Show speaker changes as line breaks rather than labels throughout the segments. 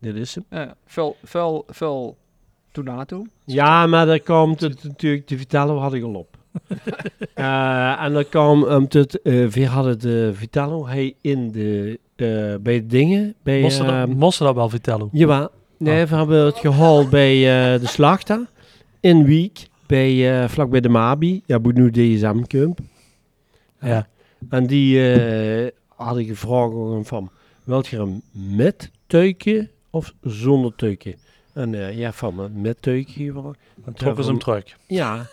Dit is hem.
Eh, veel, veel, veel Tornado.
Ja, maar daar komt het natuurlijk, de Vitello had ik al op. Eh, en dan kwam um, het, eh, we hadden de Vitello hij in de, eh, bij de dingen. Bij,
Moesten dat,
ehm,
moesten dat wel vertellen?
jawel. nee, we hebben het gehaald bij eh, de slachter in Week, bij, eh, vlak bij de Mabi, ja, moet nu DSM Camp.
Ja.
En die eh had ik gevraagd aan hem van, wilt je hem met tuikje of zonder tuikje? En eh, ja, van me met tuikje gevraagd.
Dan trokken ze hem terug.
Ja.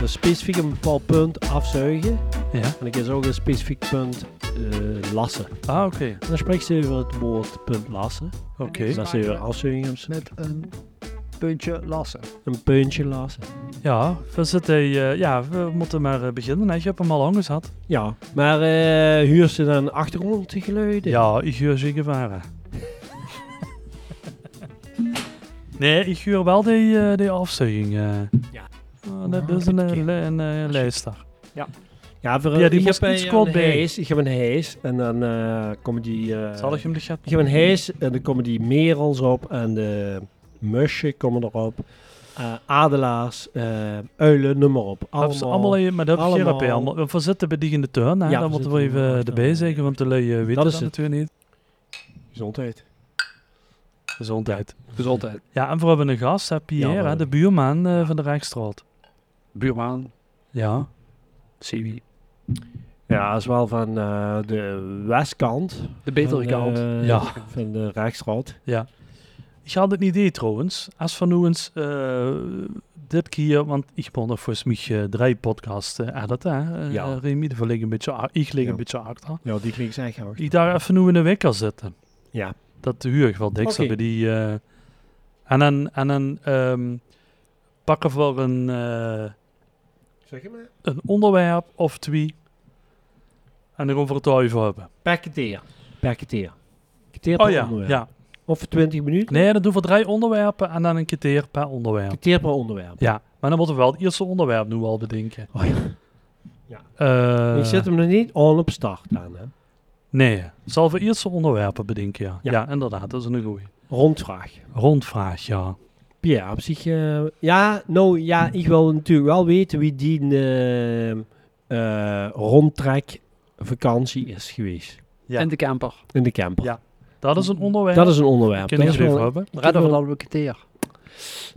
Dus specifiek een bepaald punt afzuigen.
Ja.
En ik is ook een specifiek punt eh, lassen.
Ah, oké.
En dan spreekt ze over het woord punt lassen.
Oké.
Dus dat is weer afzuiging op z'n-
Met een puntje lassen.
Een puntje lassen.
Ja, we zitten, eh, ja, we moeten maar eh, beginnen. Hè. Je hebt hem al aangezet.
Ja. Maar eh huur ze dan achtergrondgeluiden?
Ja, ik huur ze gevaren. nee, ik huur wel die, eh, die afzuiging. eh.
Ja.
Ah, dat is een, eh, le- een eh, lijster.
Ja, voor,
Ja, die
ik
moest
heb
niet
een-
squat
een
bij.
hijs. Ik heb een hijs. En dan eh komen die... eh,
Zal ik hem de chat?
Ik heb een hijs en dan komen die merels op en de musje komen erop. Eh, adelaars, eh, uilen, noem maar op.
Hebben ze allemaal, in- maar dat heb je hier op, hè,
allemaal-
allemaal. Want We zitten bij die in de tuin, hè?
Ja,
dan
we
moeten we
zitten in de
even
tuin.
erbij zeggen, want de lui eh, weten
Dat
dat,
is het.
natuurlijk niet.
Gezondheid.
Gezondheid.
Gezondheid.
Ja, en we hebben een gast, hè, Pierre,
Ja, we-
hè, de buurman eh, van de Rijksstraat.
Buurman,
Ja.
Siwi.
Ja, dat is wel van eh, de westkant.
De betere
van,
kant.
eh,
Ja.
Van de Rijksstraat.
Ik had het idee trouwens, als van nu eens eh, dit keer, want ik ben er volgens mij eh, drie podcasts eh, aan dat, hè, eh,
Ja.
Remy, die liggen een beetje, a- ik lig
Ja.
een beetje achter.
Ja, die klinkt zijn gehoord.
Ik daar even nu in de wekker zitten.
Ja.
Dat huur ik wel dikst
Oké.
bij die. eh, en dan, en dan ehm, pakken we wel een, eh,
Zeg je maar.
een onderwerp of twee. En dan gaan we het daarover hebben.
Pakketeer. Pakketeer. Pakketeer per
Oh ja,
onderwerp.
ja.
Of voor 20 minuten.
Nee, dan doen we drie onderwerpen en dan een keer per onderwerp.
Pakketeer per onderwerp.
Ja, maar dan moeten we wel het eerste onderwerp nu al bedenken.
Oh ja.
Eh,
Ik zet hem nog niet al op start aan. Hè.
Nee, zal we eerst de onderwerpen bedenken, ja. ja.
Ja.
inderdaad, dat is een goeie.
Rondvraag.
Rondvraag, ja.
Ja, op zich. eh, ja, nou ja, ik wil natuurlijk wel weten wie die eh eh, rondtrekvakantie is geweest
Ja.
En de camper.
in de camper.
Ja. Dat is een onderwerp.
Dat is een onderwerp.
Kunnen
Dat
we
is
even
wel-
hebben.
Redden we dan ook een teer.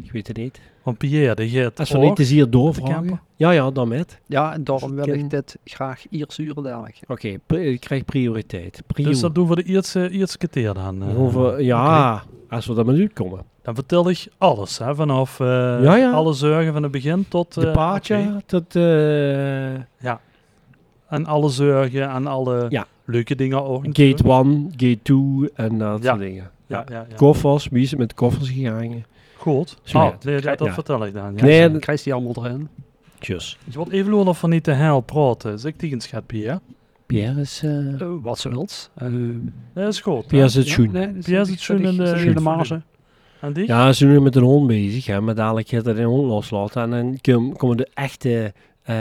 ik weet het niet.
Want Pierre, die gaat
Als we niet te zeer
camper?
doorvragen. Ja, ja, dan met.
Ja, en daarom wil
Ken-
Dus ik dit graag Iersuren dadelijk.
Oké, pri- ik krijg prioriteit. Prio.
Dus dat doen we de eerste, eerste keer dan. eh.
Over, ja, als we dat maar uitkomen.
Dan vertel ik alles, hè, vanaf eh,
Ja, ja.
alle zorgen van het begin tot...
de
eh,
paardje,
oké.
dat... eh
En alle zorgen en alle
Ja.
leuke dingen ook. natuurlijk.
gate 1, gate 2 en dat
Ja.
soort dingen.
Ja, ja, ja.
Koffers, wie is er met koffers gegaan?
Goed.
Zo, ja.
Ah, nee, dat, dat
Ja.
vertel ik dan. Ja.
Nee,
Ja,
dat-
dan krijg je die allemaal erin.
Tjus.
Je wordt even loon of van niet te hel praten. Zeg tegen schat, Pierre.
Pierre is... eh
Eh, wat ze wilt. Eh,
Dat is goed. hè.
Pierre zit schoen.
nee, dat is
Pierre
niet-
zit
dat
schoen
is-
in de-
dat is
in
in
de
de marge.
En die?
Ja, ze zijn nu met een hond bezig, hè, maar dadelijk gaat dat een hond loslaten. En dan kom- komen de echte eh,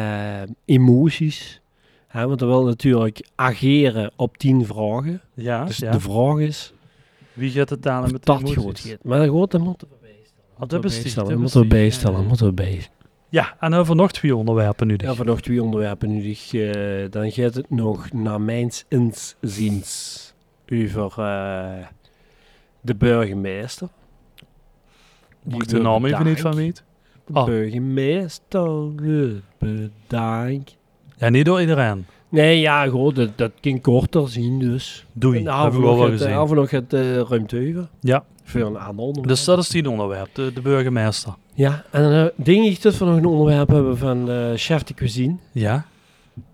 emoties. Hè, want er wil natuurlijk ageren op tien vragen.
Ja,
dus
Ah, ja.
de vraag is,
Wie gaat het talen met de
dat
emoties?
goed gaat. Maar goed, dat moeten we
Ah, dat is die,
bijstellen.
dat
Dat
is
moeten we
die.
bijstellen.
Ja.
Moeten we bij.
Ja, en over nog twee onderwerpen nu. dus.
Ja, voor nog twee onderwerpen nu. die, eh, dan gaat het nog naar mijns inziens over eh, de burgemeester.
Waar ik de naam even niet van weet.
De
Ah.
burgemeester wil bedankt.
Ja, niet door iedereen.
Nee, ja, goed, dat, dat kan korter zien dus.
Doei,
En
dat
af
hebben
en
we
nog
wel
het, eh,
gezien.
af en nog het eh, ruimte over.
Ja.
Voor een ander onderwerp.
Dus dat is die onderwerp, de, de burgemeester.
Ja, en dan eh, denk ik dat we nog een onderwerp hebben van eh, chef de cuisine.
Ja?
Van,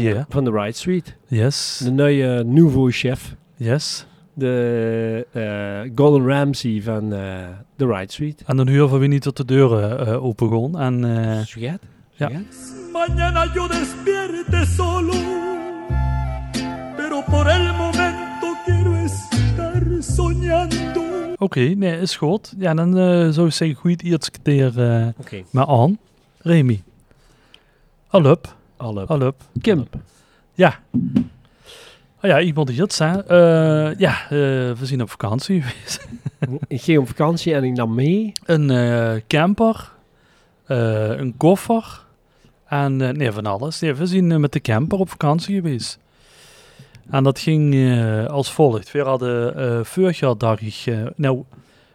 Pierre?
van de Right Street.
Yes?
De nieuwe nouveau chef.
Yes?
De eh, Golden Ramsay van eh The Right Street.
En dan huur van wie niet tot de deuren eh open gaan. En eh,
Suget?
Ja.
Suget?
Mañana yo despierte solo, pero por el momento quiero estar soñando.
oké, nee, is goed. Ja, dan eh, zou ik zeggen, goed iets keer eh
Oké.
maar aan. Remy. All up,
Alle
all up.
Kim.
Ja. Oh ja, iemand die dat zei. Eh, ja, eh, we zien op vakantie.
Ik ging op vakantie en ik nam mee.
een eh, camper, eh, een koffer en eh, nee, van alles. Nee, we zijn eh, met de camper op vakantie geweest. En dat ging eh, als volgt. We hadden eh vorig jaar dacht ik, eh, nou,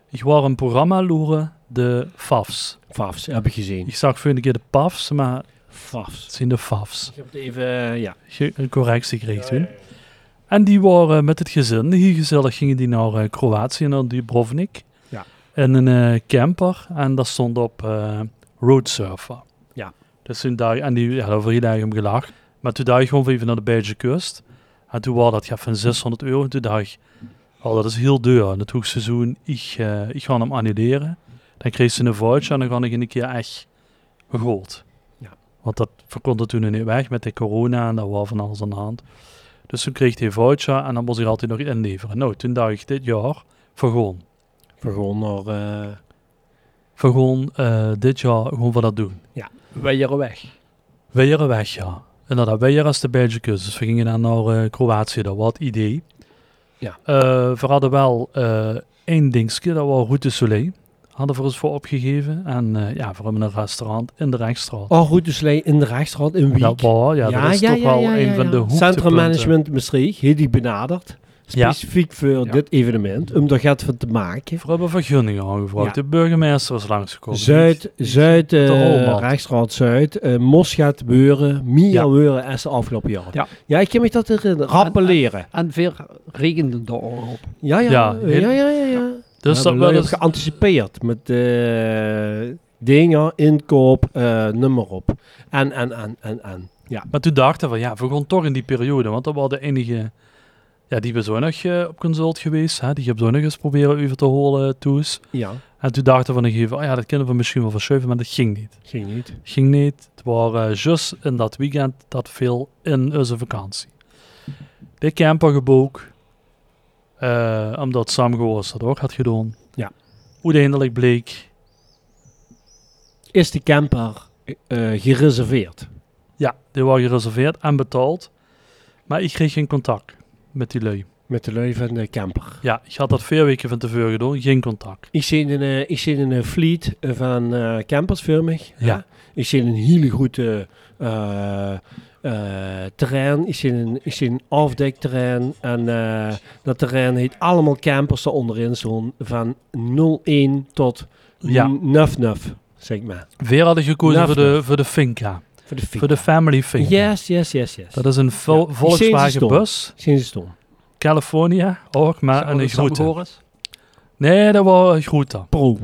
ik was een programma loeren, de FAFs.
Fafs, heb ik gezien.
Ik zag vorige keer de PAFs, maar het
Fafs.
zijn de FAFs.
Ik heb het even, eh, ja.
Ge- een correctie kreeg toen. En die waren met het gezin, hier gezellig gingen die naar eh, Kroatië, naar Dubrovnik.
Ja.
In een eh, camper en dat stond op eh Roadsurfer.
Ja.
Dus toen dacht, en die hadden voor iedereen om gelachen. Maar toen dacht ik gewoon van even naar de Belgische kust. En toen was dat ja, van 600 euro. En toen dacht ik, oh, dat is heel duur. En het hoogseizoen, ik, eh, ik ga hem annuleren. Dan kreeg ze een voucher en dan ga ik in een keer echt gold.
Ja.
Want dat verkondigde toen niet weg met de corona en daar was van alles aan de hand. Dus toen kreeg hij een voucher en dan moest hij altijd nog inleveren. Nou, toen dacht ik dit jaar, voor gewoon.
Gewoon naar eh,
Voor gewoon eh, dit jaar gewoon voor dat doen.
Wij hier weg.
Weieren weg, ja. Inderdaad, Weieren is de Belgische kust. Dus we gingen dan naar eh, Kroatië, dat was het idee.
Ja.
Eh, we hadden wel eh, één dingetje, dat was Route Soleil. Hadden we ons voor opgegeven. En eh, ja, voor een restaurant in de Rijksstraat.
Oh, goed, dus Lee in de restaurant in Wiek.
Dat was, ja, dat is toch wel een van de hoogtepunten.
Centrum Management Maastricht heeft die benaderd.
Ja.
Specifiek voor
Ja.
dit evenement. Om daar gaat van te maken.
We hebben vergunningen aangevraagd. De burgemeester is langsgekomen.
Zuid, Zuid, eh
Holmat.
Rijksstraat Zuid, eh Mos gaat beuren, Mia
Ja.
beuren is de afgelopen jaren.
Ja.
ik kan me dat herinneren. Rappelleren.
En weer regende de oorlog.
Ja, ja,
Ja,
ja,
heel-
ja, ja. ja, ja.
Dus dat wel
is
eens
geanticipeerd met eh, dingen, inkoop, eh, nummer op. En, en, en, en, en. Ja,
Maar toen dachten we, ja, we gaan toch in die periode, want dat was de enige... Ja, die we zo nog eh, op consult geweest, hè, die heb zo nog eens proberen over te horen, Toes.
ja,
En toen dachten we nog even, oh ja, dat kunnen we misschien wel verschuiven, maar dat ging niet.
ging niet.
Ging niet, het waren eh, just in dat weekend dat veel in onze vakantie. De camper geboek, eh, omdat Sam Goors dat ook had gedaan.
Ja.
Uiteindelijk bleek,
Is de camper eh, gereserveerd?
ja, die was gereserveerd en betaald, maar ik kreeg geen contact met die lui.
Met de lui van de camper.
Ja, ik had dat vier weken van tevoren gedaan, geen contact.
Ik zie een, eh, ik zie een eh, fleet eh, van eh, campers voor mij.
Ja.
Ik zie een hele goede eh eh, terrein. Ik zie een, ik zie een afdekterrein. En eh, dat terrein heet allemaal campers eronderin. Zo'n van 01 tot
Ja.
99, zeg maar.
Weer hadden gekozen
Naf,
voor de, voor de Finca,
Voor de fiets.
voor de family Finca.
Yes, yes, yes, yes.
Dat is een vol-
Ja, die zijn ze
Volkswagen
stom.
bus,
Zien ze stom.
California ook, maar een groete.
Horen.
Nee, dat was een groete.
Pro.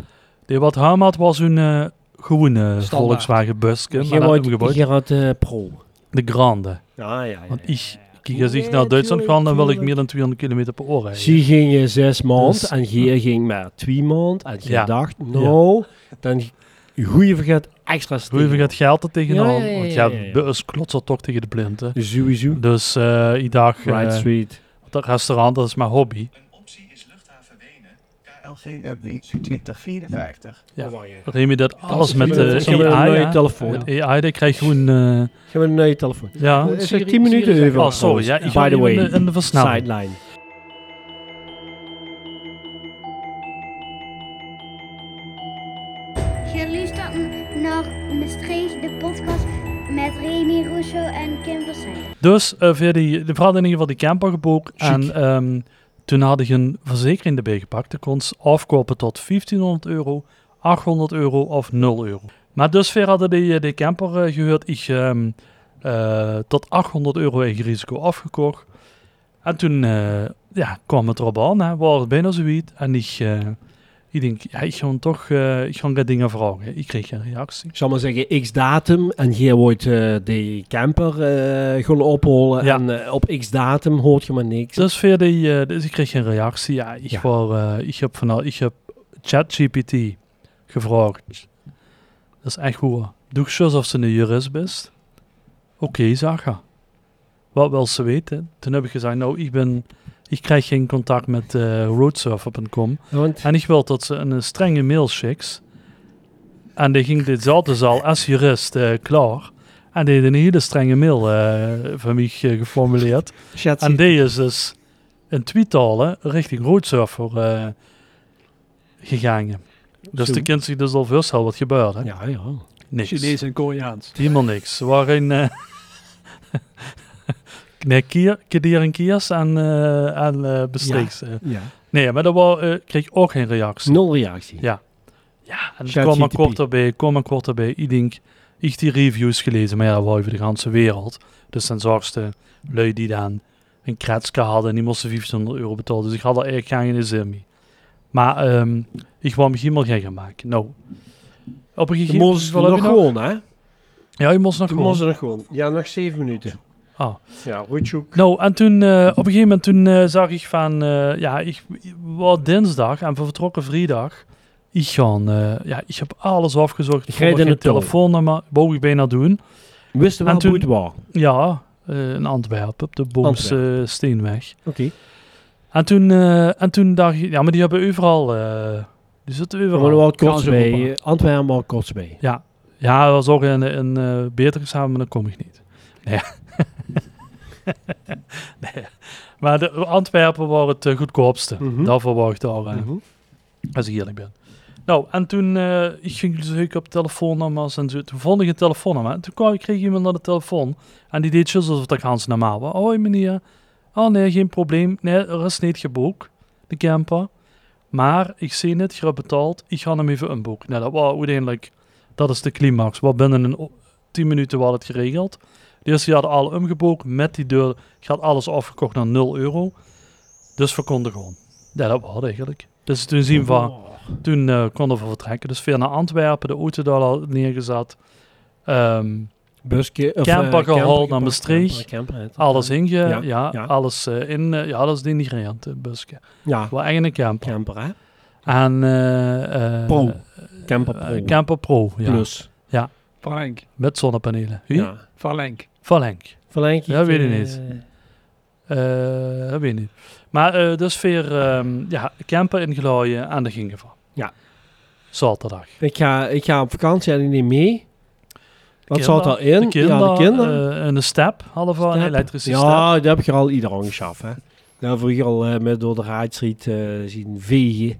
Die wat Hamad was een eh, gewone
Standaard.
Volkswagen bus, maar dat hebben we gebouwd.
Gerard eh, Pro.
De Grande.
Ja, ja, ja.
Want ik, kijk, als ik naar Duitsland ga, dan wil ik meer dan 200 kilometer per uur rijden.
Ze ging eh, zes maanden
Dus-
en hier ging maar twee maanden. En je
Ja.
dacht, nou, dan goeie vergeet extra
Hoe je het geld er tegenaan?
Ja, ja, ja,
Want
ja,
ja,
ja, ja.
bus klotst dat toch tegen de blind, hè.
Sowieso.
Dus eh ik dacht, eh,
Right Street.
dat restaurant, dat is mijn hobby.
LGW 2054.
Ja.
Oh, ja.
Neem je dat alles met
Ik heb
de
een
AI?
nieuwe
hè?
telefoon.
Ja. AI, die krijg je gewoon... eh,
Gaan we naar je telefoon.
ja.
Het is
Siri-
10 minuten
Siri-
even.
Oh, sorry. Ja, ik
By the way,
En de versnelling.
sideline.
Je luistert naar Maastricht, de podcast met Remy Russo en Kim Versijn.
Dus eh via die, de vrouw in ieder geval die camper geboekt.
Chic.
En ehm, toen had ik een verzekering erbij gepakt. Dat kon ze afkopen tot 1500 euro, 800 euro of 0 euro. Maar dus ver hadden die, eh, die camper eh, gehuurd. Ik ehm, eh, tot 800 euro eigen risico afgekocht. En toen eh, ja, kwam het erop aan. Hè, was het bijna zoiets. En ik, eh, ik denk, ja, ik ga toch eh, ik ga geen dingen vragen. Ik kreeg geen reactie.
Ik zal maar zeggen, x-datum. En hier wordt eh de camper eh gaan opholen.
Ja.
En eh, op x-datum hoort je maar niks.
Dus verder, eh, dus ik kreeg geen reactie. Ja, ik,
Ja.
wou, eh, ik heb van ik heb ChatGPT gevraagd. Dat is echt goed. Doe ik zoals of ze een jurist bent. Oké, zag je. Wat wil ze weten? Toen heb ik gezegd, nou, ik ben, ik krijg geen contact met eh roadsurfer.com.
Want
En ik wil dat ze een eh, strenge mail schiks. En die ging ditzelfde zaal als jurist eh, klaar. En die had een hele strenge mail eh, van mij eh, geformuleerd.
Shit.
En die is dus in tweetalen richting Roadsurfer eh gegaan. Dus
Zo.
de kind zich dus al voorstellen wat gebeurde.
Ja, ja.
Niks.
Chinees en Koreaans.
Helemaal niks. Ze waren in... eh, nee, Kier, Kedir en Kiers en, eh en eh, Bestreeks. Eh,
ja.
Nee, maar dat was, eh, kreeg ik ook geen reactie.
Nul reactie.
Ja. Ja, en
Chat
kom maar
GTP.
kort erbij, kom maar kort erbij. Ik denk, ik die reviews gelezen, maar ja, dat was over de ganse wereld. Dus dan zorgste lui die dan een kretske hadden en die moesten 500 euro betalen. Dus ik had er eigenlijk geen zin mee. Maar ehm, ik wou me helemaal gek gaan maken. Nou, op een
De
gegeven
mos is
wat heb
nog
je nog?
gewoon, hè?
Ja, je moest nog
De
gewoon.
mos is nog gewoon. Ja, nog zeven minuten.
Ah.
Ja, Roetjoek.
Nou, en toen, eh, op een gegeven moment toen eh, zag ik van, eh, ja, ik ik was dinsdag en we vertrokken vrijdag. Ik gaan, eh, ja, ik heb alles afgezocht. Ik
rijd
vond
in
geen
de tol.
telefoonnummer, wou ik bijna doen.
Wisten we
En
wat
toen-
het was? Oké.
Ja, eh in Antwerpen, op de Boomse Steenweg.
Okay.
En toen, eh, en toen dacht ik, ja, maar die hebben overal, eh, die zitten
We waren
overal.
wel kort
ze
bij.
roepen.
Antwerpen was kort bij.
Ja, ja, dat was ook een, een eh, betere examen, maar dan kom ik niet. Nee. nee. Maar de Antwerpen waren het eh, goedkoopste.
Mhm.
Daarvoor was ik daar, eh,
Mhm.
als ik eerlijk ben. Nou, en toen eh, ik ging ik zoeken op telefoonnummers en zo. Toen vond ik een telefoonnummer. En toen kwam, kreeg iemand aan de telefoon. En die deed zo alsof dat gans normaal was. Hoi meneer. Oh nee, geen probleem. Nee, er is niet geboekt. De camper. Maar ik zie net, je hebt betaald. Ik ga hem even inboeken. Nou, dat was uiteindelijk... Dat is de climax. Wat binnen een o- 10 minuten was het geregeld. Dus die hadden al omgeboekt met die deur. Ik had alles afgekocht naar 0 euro. Dus we konden gewoon. Ja, dat was het eigenlijk. Dus toen zien we...
Oh.
Toen eh, konden we vertrekken. Dus weer naar Antwerpen, de auto daar al neergezet. Ehm,
Busje, of,
Camper
eh,
gehaald
gepakt,
naar Maastricht.
camper, camper, hè.
alles inge... Ja,
Ja, ja.
alles eh, in... eh, ja, dat is denigrerend, eh, busje.
Ja,
Wel eigen een camper.
camper hè?
En... eh, eh,
Pro.
eh,
Camper Pro.
camper Pro, ja.
Plus.
Frank.
Met zonnepanelen. Wie?
Ja.
Verlenk.
Van Henk.
Verlenk je
Ja, weet ik
eh,
niet. Eh, dat weet ik niet. Maar eh, dus weer ehm, ja, camper ingelooien aan de gingeval.
Ja.
Zaterdag.
Ik ga, ik ga op vakantie en ik neem mee. Wat
Kinder,
zat erin?
De kinderen,
ja, de kinderen.
eh, een step hadden we, een
Stappen.
elektrische step.
Ja, dat heb je al ieder aangeschaft. Hè. Dat heb ik al eh, met door de raadstreet eh zien vegen.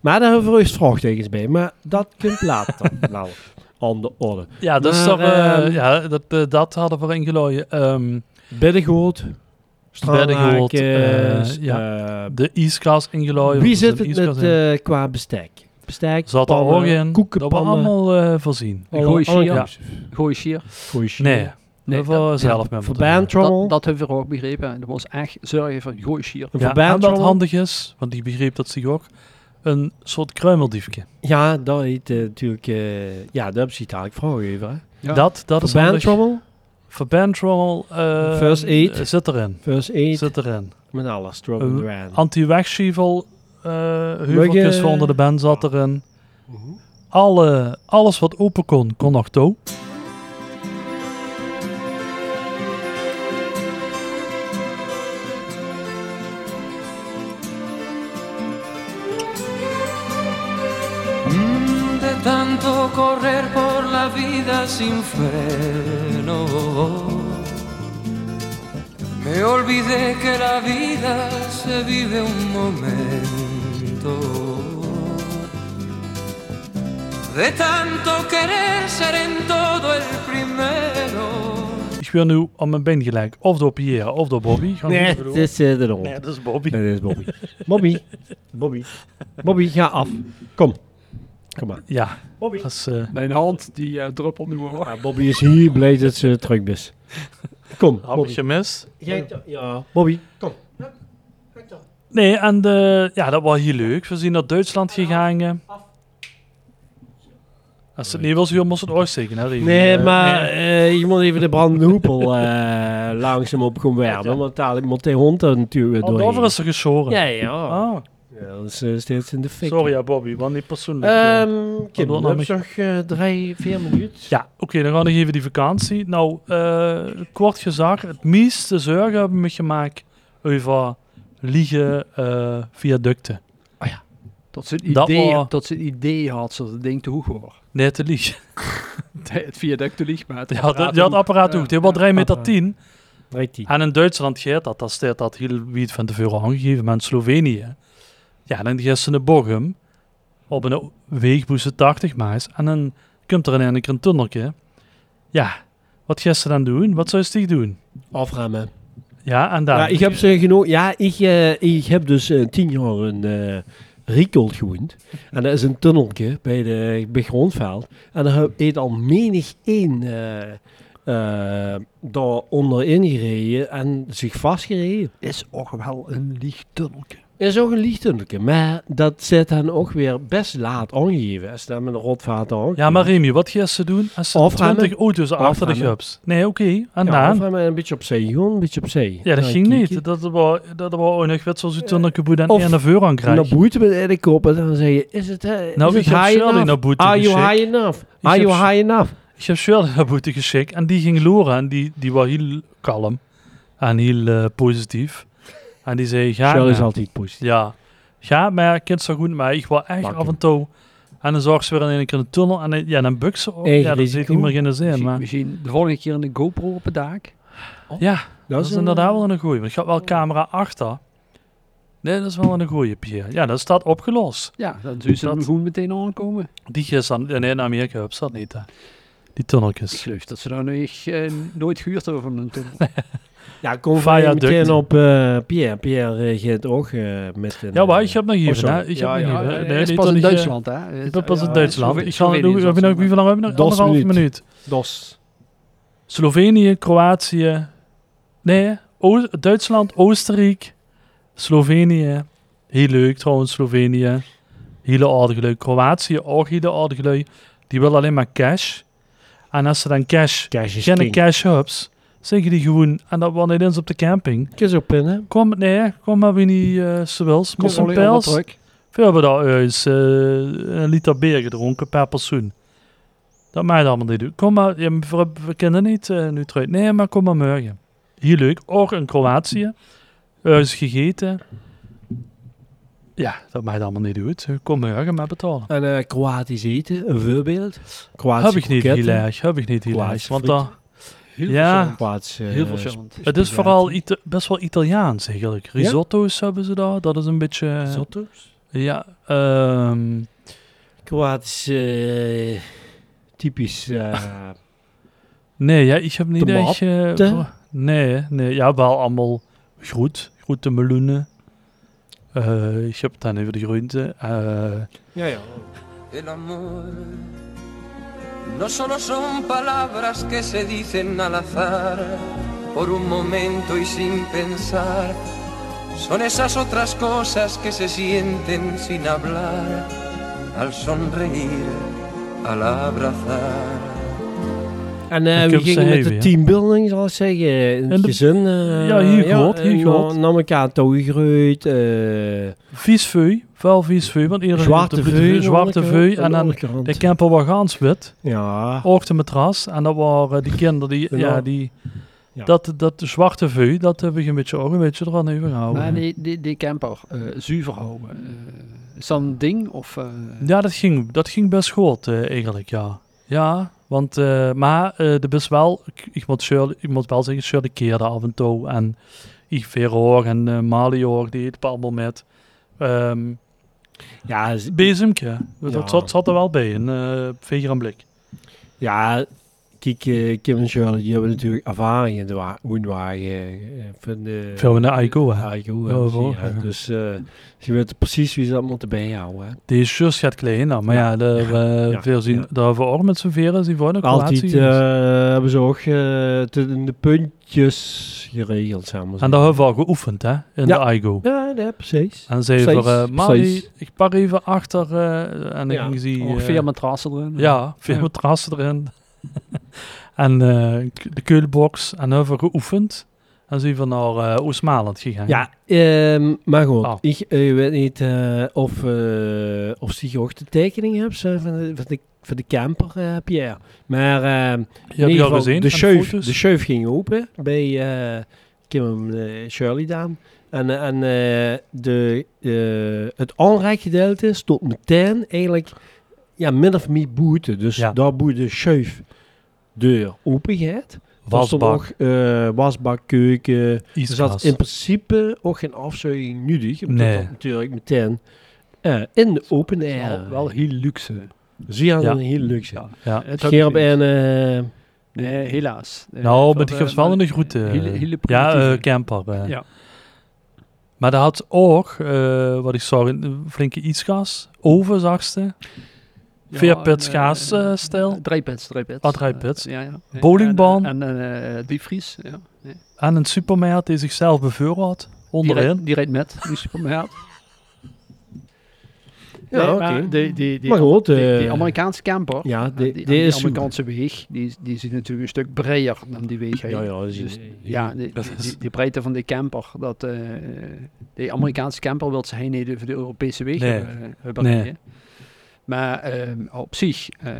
Maar daar hebben we eerst vraagtekens bij. Maar dat komt later wel aan de orde.
Ja, dus
Maar,
daar, eh,
ehm,
ja dat, eh, dat hadden we erin gelooien. Ehm,
Beddengoed.
Beddengoed, eh,
ja.
de ijskast ingelooien.
Wie
want er
zit
zit
het
een
met
ijskast in.
eh, qua bestek? Bestek,
Zat er
pannen,
ook in. Dat we
koekenpannen.
allemaal eh, voorzien.
Een goeie
alle-
sier.
Ja.
Goeie sier.
Goeie shit.
Nee,
Nee,
dat we
dat-
zelf met
Voor
moeten doen.
bandtrommel.
Dat, dat hebben we ook begrepen. Dat was echt zorgen voor goeie sier.
Een
Ja, en dat
verbandtrommel.
handig is, want die begreep dat zich ook, een soort kruimeldiefje.
Ja, dat heet eh, natuurlijk... eh, ja, dat heb je eigenlijk vragen even. Hè.
Ja.
Dat, dat is handig.
Verbandtrommel,
Verbandtrommel. eh,
First aid.
eh, Zit erin.
first aid,
Zit erin.
met alles. Drop
Eh,
and ran.
Anti-wegschivel. eh
Muggen.
Heuveltjes voor onder de band zat erin. Alle, alles wat open kon, kon nog toe.
de tanto correr por la vida sin freno. Me olvidé que la vida se vive un momento. De tanto querer ser en todo el primero.
Ik wil nu aan mijn been gelijk. Of door Pierre of door Bobby. Gaan we
Nee, dit
niet bedoelen.
is eh, de hond.
dat is Bobby.
Nee, dit is Bobby. Bobby. Bobby. Bobby, ga af. Kom. Kom maar.
Ja,
Bobby.
dat is... eh,
Mijn hand, die eh, druppelt nu hoor.
Ja, Bobby is hier blij dat ze terug is. Kom,
Heb ik
Bobby.
gemist?
Jij- Ja, Bobby, kom.
Nee, en de, ja, dat was heel leuk. We zijn naar Duitsland gegaan. eh. Als het niet was, dan moest het uitsteken. Hè, Rie?
Nee,
Eh,
maar
nee.
eh, je moet even de brandende hoepel eh, langzaam op gaan werpen. Want dadelijk moet die hond er natuurlijk weer
Oh, daarvoor
doorheen.
is er geschoren.
Ja, ja.
Ah,
Ja, dat is eh, steeds in de fik.
sorry, ja, Bobby. Want niet persoonlijk. eh.
Ehm, Kim,
Pardon,
we hebben
Annemiek.
nog eh, drie, vier minuten.
Ja, oké, dan gaan we nog even die vakantie. Nou, eh, kort gezegd, het meeste zorgen hebben we gemaakt over liegen eh viaducten.
Dat ze een
Dat
idee,
wel.
dat ze een idee had, zodat het ding te hoog hoor.
Nee, te lieg.
Het viaduct te lieg, maar het
Die had,
apparaat
die had
ook.
apparaat
Ja.
ook. Die was 3,10 meter. tien.
Weet die.
En in Duitsland geeft dat. Dat staat dat heel wiet van tevoren aangegeven. Maar in Slovenië, ja, dan geeft ze een bochum op een weegboeze 80 maas. En dan komt er in een keer een tunneltje. Ja, wat gaat ze dan doen? Wat zou ze die doen?
Afremmen.
Ja, en dan.
Ja, ik heb ze genoeg. Ja, ik, eh, ik heb dus eh, tien jaar in eh Riekold gewoond. En dat is een tunneltje bij, de, bij Grondveld. En daar heb- heeft al menig één eh eh, daar onderin gereden en zich vastgereden.
Is ook wel een liegtunneltje.
Is ook een lichttunneltje, maar dat zit dan ook weer best laat aangegeven. Als dat met een rotvaart ook.
Ja, maar Remy, wat gaan ze doen als ze
Afremmen.
20 auto's achter de
Afremmen.
gups? Nee, oké, en
Ja,
dan?
of hem een beetje opzij, gewoon een beetje opzij.
Ja, dat
Dan
ging
kijk je.
niet. Dat was, dat was onnig werd zoals u toen een boer
Of-
en een vuur aan
En dan
krijgt.
boeit met de kop en dan zeg je, is het, eh,
Nou,
is
ik
het
heb
high
Shirley
enough?
naar boete
Are you
geschikt.
high enough?
Ik
Are
heb
you
Sh-
high enough?
Ik heb Shirley naar boete geschikt en die ging loren en die, die was heel kalm en heel eh, positief. En die zei, ga
Shell is
maar.
altijd positief.
Ja, ga maar, kind zo goed, maar ik was echt
Dank
af
je.
en toe. En dan zag ze weer in een keer een tunnel en dan- ja, dan buk ze op.
Eigen
Ja, dat zit
risico.
niet meer in de zin,
Misschien,
maar...
misschien de volgende keer een GoPro op het dak.
Ja, dat is
een-
inderdaad wel een goeie. Want ik had wel camera achter. Nee, dat is wel een goeie, Pierre. Ja, dat staat opgelost.
Ja, dan zullen ze
Dat-
hem gewoon meteen aankomen.
Die is dan... Nee, in Amerika hebben ze dat niet, hè. Die tunneltjes.
Ik geloof dat ze daar nu echt, eh, nooit gehuurd hebben van een tunnel.
Ja, kom
Viaduct.
van meteen op eh, Pierre. Pierre uh, gaat ook eh, met een...
Ja, maar ik
eh,
heb nog
oh,
even,
sorry.
hè. Ik heb nog even.
dat is eh,
die
pas
tunneltje-
in Duitsland, hè?
Ik eh, ben pas in
Ja,
Duitsland.
Slove-
Ik ga
Slovenië
doen.
is
Heb je nog
dat
wie
zo,
lang hebben we nog?
Dos
Anderhalf
minuut.
minuut.
Dos.
Slovenië, Kroatië. Nee, O- Duitsland, Oostenrijk, Slovenië. Heel leuk trouwens, Slovenië. Hele aardige lui. Kroatië ook hele aardige lui. Die willen alleen maar cash. En als ze dan cash,
Cash is
geen
king.
cash hubs, zeggen die gewoon, en dat waren niet eens op de camping.
Kies op in, hè.
Kom, nee, kom maar wie niet eh, ze wils.
maar.
Kom een
Controleer allemaal
pels.
terug.
We hebben daar eens eh, een liter bier gedronken per persoon. Dat mij dat allemaal niet doet. Kom maar, ja, we, we kennen niet eh, nu terug. Nee, maar kom maar morgen. Hier leuk. Ook in Kroatië. Eh, Eens gegeten. Ja, dat mij dat allemaal niet doet. Kom morgen maar betalen.
En eh, Kroatisch eten, een voorbeeld.
heb
Kroatisch
ik niet heel erg. Heb ik niet heel erg.
Kroatische
Want
friet.
daar-
Heel
Ja.
verschillend.
Kroatisch... eh,
Heel verschillend.
het is vooral Ita- best wel Italiaans eigenlijk. Risotto's hebben ze daar. Dat is een beetje... eh,
Risotto's?
Ja, ehm,
Kroatisch... eh, typisch... eh,
Nee, ja, ik heb niet echt... eh,
Tomaten?
nee, nee, ja, wel allemaal groet. Groete meloenen. Eh, ik heb dan even de groenten. eh,
ja, ja.
El amor no solo son palabras que se dicen al azar, por un momento y sin pensar. Son esas otras cosas que se sienten sin hablar, al sonreír, al abrazar.
En eh,
Ik
we
heb ze
gingen met
even,
de
ja.
teambuilding, zal ik zeggen. In
En
het
de-
gezin. eh,
Ja, hier gehoord, hier
en
gehoord.
Nam elkaar toegegroeid. eh
vies vuur, wel vies vuur, want iedereen op
zwarte
de- de-
veu. eh,
zwarte veu. En dan de
dan...
camper was gaans wit.
Ja.
Ook de matras. En dat waren die kinderen die...
Ja.
ja, die
Ja.
Dat, dat zwarte vuur, dat hebben we een beetje ook een beetje eraan even gehouden.
Maar die, die, die camper, eh, zuiver houden. eh, is dat een ding? Of, eh,
Ja, dat ging, dat ging best goed eh, eigenlijk, ja. Ja, want, eh, maar eh er is wel, ik, ik moet Shirley, ik moet wel zeggen, Shirley keerde af en toe. En Yves hoor en eh, Mali hoor, die het allemaal met. ehm
Ja, z-
bezemke,
Ja.
dat zat, zat er wel bij, een eh veger en blik.
ja kijk, eh, Kim en Shirley die hebben natuurlijk ervaring in de wa- woonwagen. eh, Van de...
Veel in de Aiko, hè.
Aiko, hè,
Ja, wel,
ja,
ja.
Dus eh, ze weten precies wie ze dat moeten bijhouden. hè.
Die shirts gaat kleiner, maar ja, daar, eh,
ja,
veel zien,
ja.
daar hebben we ook met z'n veren zien voor de
Altijd
Kroatië.
eh, hebben ze ook eh, te- in de puntjes geregeld, zeg maar.
En daar hebben we al geoefend, hè, in
Ja.
de Aigo.
Ja, ja, precies.
En zei
Precies,
voor eh, Mali,
precies.
ik pak even achter eh, en
Ja,
ik zie...
ongeveer
eh,
matrassen erin.
Ja, veel
Ja.
matrassen erin. en eh, k- de keulbox. En hebben we geoefend. En zijn we naar eh Oosmaland gegaan.
Ja, ehm, maar goed.
Oh.
Ik eh, weet niet eh, of, eh, of ze ook de tekening hebben ze, van, de, van, de, van de camper, eh, Pierre. Maar ehm,
je hebt
in
die
ieder
al
geval,
gezien.
de
en
scheuf,
foto's.
de scheuf ging open bij eh, Kim en eh, Shirley Daan. En, eh, en eh, de, eh, het aanreikgedeelte stond meteen eigenlijk ja, min of meer boete. Dus
Ja.
daar boeit de schuif deur open gaat. Daar stond
Wasbak.
ook, eh, wasbak, keuken.
Iets
Er zat in principe ook geen afzuiging nodig. omdat
Nee.
dat natuurlijk meteen eh, in de open air.
Wel, wel heel luxe.
Zie je
Ja.
dan een heel luxe.
Ja.
Ja.
Het
Scherp en... eh,
Nee, helaas. Nee,
Nou,
voor
maar
de-
ik heb wel een groet. eh,
Hele, hele
ja, eh,
primitieve.
camper. eh.
Ja.
Maar dat had ook, eh, wat ik zag, een flinke ietsgas, oven zagste,
Ja,
veerpits
en,
gas,
eh,
eh, stijl.
Drie pits, drie pits.
Ah, drie pits.
Ja, ja. Ja,
Bowlingbaan.
En, en eh, diepvries. Ja. Ja.
en een supermarkt die zichzelf beveuren had,
Die, rijdt,
onderin.
die rijdt met, die supermarkt.
Ja,
Nee,
oké.
maar die, die, die,
Maar goed,
die,
eh,
die Amerikaanse camper,
Ja, die-
die,
die
die
is
Amerikaanse weg, die, die zit natuurlijk een stuk breder dan die weg. heen.
Ja, ja, dat is-
Dus, ja, die,
dat
die,
is-
die- die breedte van die camper, dat, eh die Amerikaanse camper wil ze heen niet over de Europese weg
Nee.
hebben- eh, hebben
Nee.
rijden. Maar ehm, op zich, eh,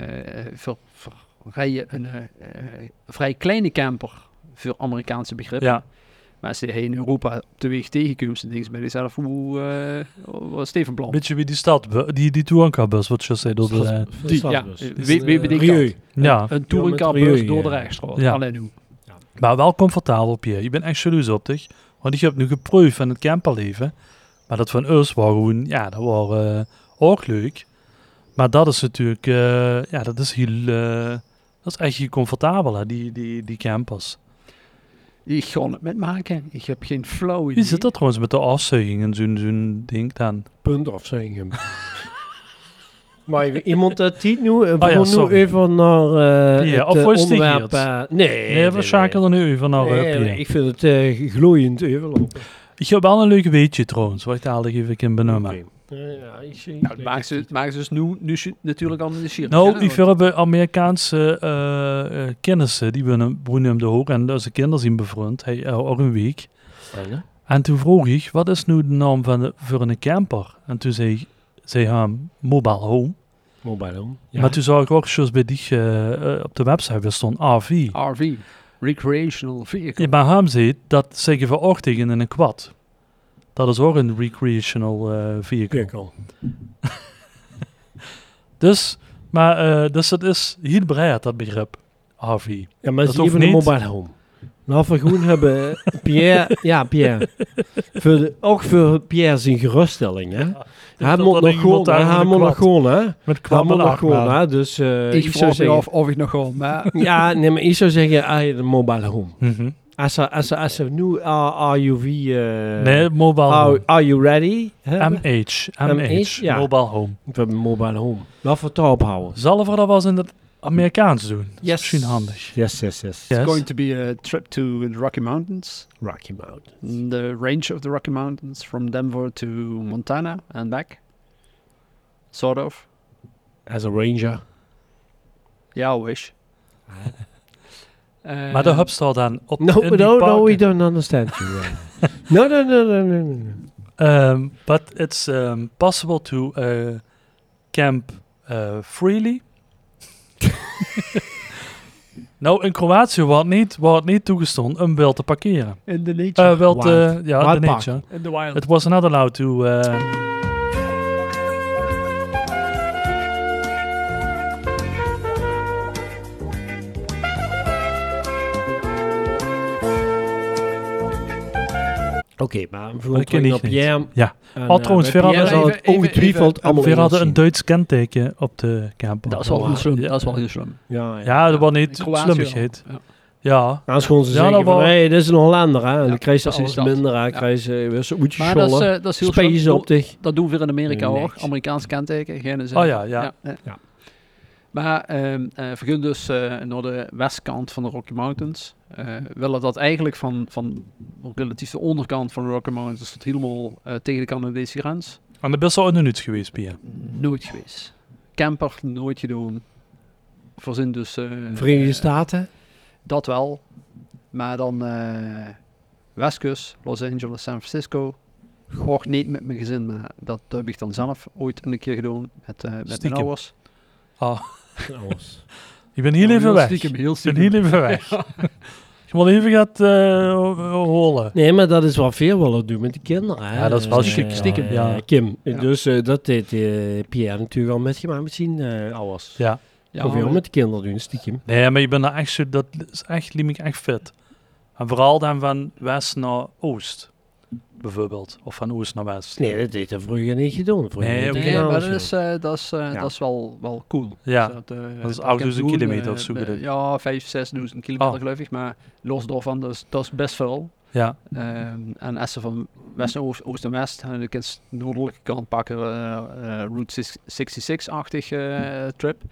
voor, voor rijden een eh, eh, vrij kleine camper voor Amerikaanse begrippen.
Ja,
Maar als je in Europa op de weg tegenkomt, dan denk je bij jezelf, hoe eh was Steven Plan?
beetje wie die stad, die, die Touanka-bus, wat je zei. door de-
Die, ja, eh, wie, wie bedenkt dat?
ja,
Een
Ja, met
touringcarbus
milieu,
door de
ja.
rijstraat.
Ja.
Alleen hoe.
maar wel comfortabel, Pierre. Ik ben echt jaloers op dich, want ik heb nu geproefd van het camperleven. Maar dat van ons was gewoon, ja, dat was eh, ook leuk. Maar dat is natuurlijk, eh, ja, dat is heel, eh, dat is echt heel comfortabel, hè, die, die, die campers.
Ik kon het met maken. Ik heb geen flauw idee.
Wie zit dat trouwens met de afzuiging en zo'n zo'n ding dan?
Punt afzuigen. maar even iemand dat tiet nu, eh, we
Ah, ja,
gaan nu
sorry.
even naar eh,
Pierre,
het
of
eh,
was die
onderwerp.
hier?
eh, nee,
Nee, we schakelen nu even naar eh,
Nee,
Pierre.
ik vind het eh, glooiend overlopen.
Ik heb wel een leuk weetje trouwens, wacht dadelijk even ik in benoemen.
Nou, dat maken ze, dat maken ze dus nu, nu zi- natuurlijk allemaal de sier.
Nou, ik wil hebben Amerikaanse eh, eh, kennissen, die wonen, wonen hem de hoog en onze kinderen zien bevriend, hij eh, al een week. En toen vroeg ik, wat is nu de naam van de, voor een camper? En toen zei, zei hij, mobile home.
Mobile home. Ja.
Maar toen zag ik ook zoals bij die eh, eh, op de website, er stond AV.
RV. Recreational Vehicle.
Ja, maar Ham zei, dat zeggen we ook tegen in een quad. Dat is ook een recreational eh, vehicle.
Kukkel.
Dus, maar, eh, dus het is heel breed, dat begrip, AV.
Ja, maar
Dat
dat
hoeft
even een
niet.
mobile home. Nou, we groen hebben eh, Pierre, ja Pierre, voor de, ook voor Pierre zijn geruststelling. Hè? Hij moet
Dat er
nog
iemand
gewoon,
daar
hè,
met
hij
een
moet nog
kwad-
gewoon, hè? Hij
Met kwam
moet
en
nog
achtbaan.
gewoon, hè? Dus eh,
ik
zou
vraag me
zeggen-
af of ik nog wel, maar...
Ja, nee, maar ik zou zeggen, ah, een mobile home.
Mhm.
Als ze, als ze, als ze nu uh, RUV... eh,
Nee, mobile
are,
home.
are you ready? hebben?
MH, MH,
MH, ja.
mobile home.
We hebben een mobile home. Laten we het daarop houden.
Zal we dat wel eens in het Amerikaans doen? Dat is
Yes.
Misschien handig.
Yes, yes, yes.
Yes.
It's going to be a trip to the Rocky Mountains.
Rocky Mountain.
The range of the Rocky Mountains from Denver to Montana and back. Sort of.
As a ranger.
Ja, I wish. Eh,
Maar de hub staat dan op
No,
in die
no, no, we
parken.
don't understand you. eh. no, no, no, no, no, no, no.
Um, but it's um, possible to uh, camp uh, freely. nou, in Kroatië wordt niet, wordt niet toegestaan om wel te parkeren.
In the nature.
Eh wel te,
Wild.
ja,
Wild
de
park.
nature.
in the wild.
It was not allowed to... eh,
Oké, maar we
Dat ken
voelen
ik
op
niet.
Jam.
Ja. Al trouwens, Vera,
eh, Pierre
dat is
zal
al-
het ongetwijfeld allemaal
we hadden een
onzien.
Duits kenteken op de camper.
Dat is wel heel slim.
Ja.
Dat is wel heel slim.
Ja, ja.
Ja, dat was niet
In Kroatië
slimmigheid.
wel, ja.
Ja,
Dan is gewoon ze
Ja,
zeggen
dat
van,
wel.
hey, dit is een Hollander, hè. En dan krijg je
precies
alles
dat.
minder, hè.
Ja.
Krijg je eh, weer zo'n hoedje
Maar dat is,
schollen.
eh, dat is heel slim.
Space
Dat-
op dich.
Dat doen we in Amerika
Nee,
ook.
niks.
Amerikaans kenteken. Geen zin.
Oh ja, ja.
Ja.
Maar ehm eh, we gaan dus eh, naar de westkant van de Rocky Mountains. Eh, we willen dat eigenlijk van, van relatief de onderkant van de Rocky Mountains tot helemaal eh, tegen de Canadese grens.
en de best wel in de nuts geweest, Pierre.
Nooit geweest. Camper nooit gedaan. Voorzien dus... eh,
Verenigde
eh,
Staten.
dat wel. Maar dan eh Westkust, Los Angeles, San Francisco. Goh, niet met mijn gezin, maar dat heb ik dan zelf ooit een keer gedaan. Met, eh, met mijn
Stiekem.
ouders.
Ah,
Alles.
ik ben heel
Ja,
even weg.
Stiekem, heel
Ik ben
stiekem.
heel even weg. Je moet even gaat eh, holen.
Nee, maar dat is wat veel willen doen met de kinderen. Hè?
Ja, dat is wel
Eh,
chic, stiekem,
eh,
ja.
Kim.
Ja.
Dus eh, dat deed eh, Pierre natuurlijk al met gemaakt met zijn eh ouders.
Ja.
Ja,
of wel
maar-
met de kinderen doen, stiekem.
Nee, maar je bent daar echt zo, dat is echt, liep ik echt fit. En vooral dan van west naar oost, bijvoorbeeld. Of van oost naar west.
Nee, dat deed hij vroeger niet gedaan. Vroeger deed
Nee,
hij
oké.
Nee,
geen
maar dat
ouders
is, eh, dat is, eh,
Ja.
dat is wel, wel cool.
Ja.
Dus dat, eh,
is
dat
oud
kan
dus een
doen,
kilometer
eh,
of zo
eh,
bedoel je?
Ja, 5, 6.000 kilometer
Ah.
geloof ik. Maar los daarvan, dat is, dat is best veel.
Ja,
Ehm, en als ze van west naar oost, oost en west, en ik eens de noordelijke kant pakken, eh, eh, Route 66-achtig eh, trip.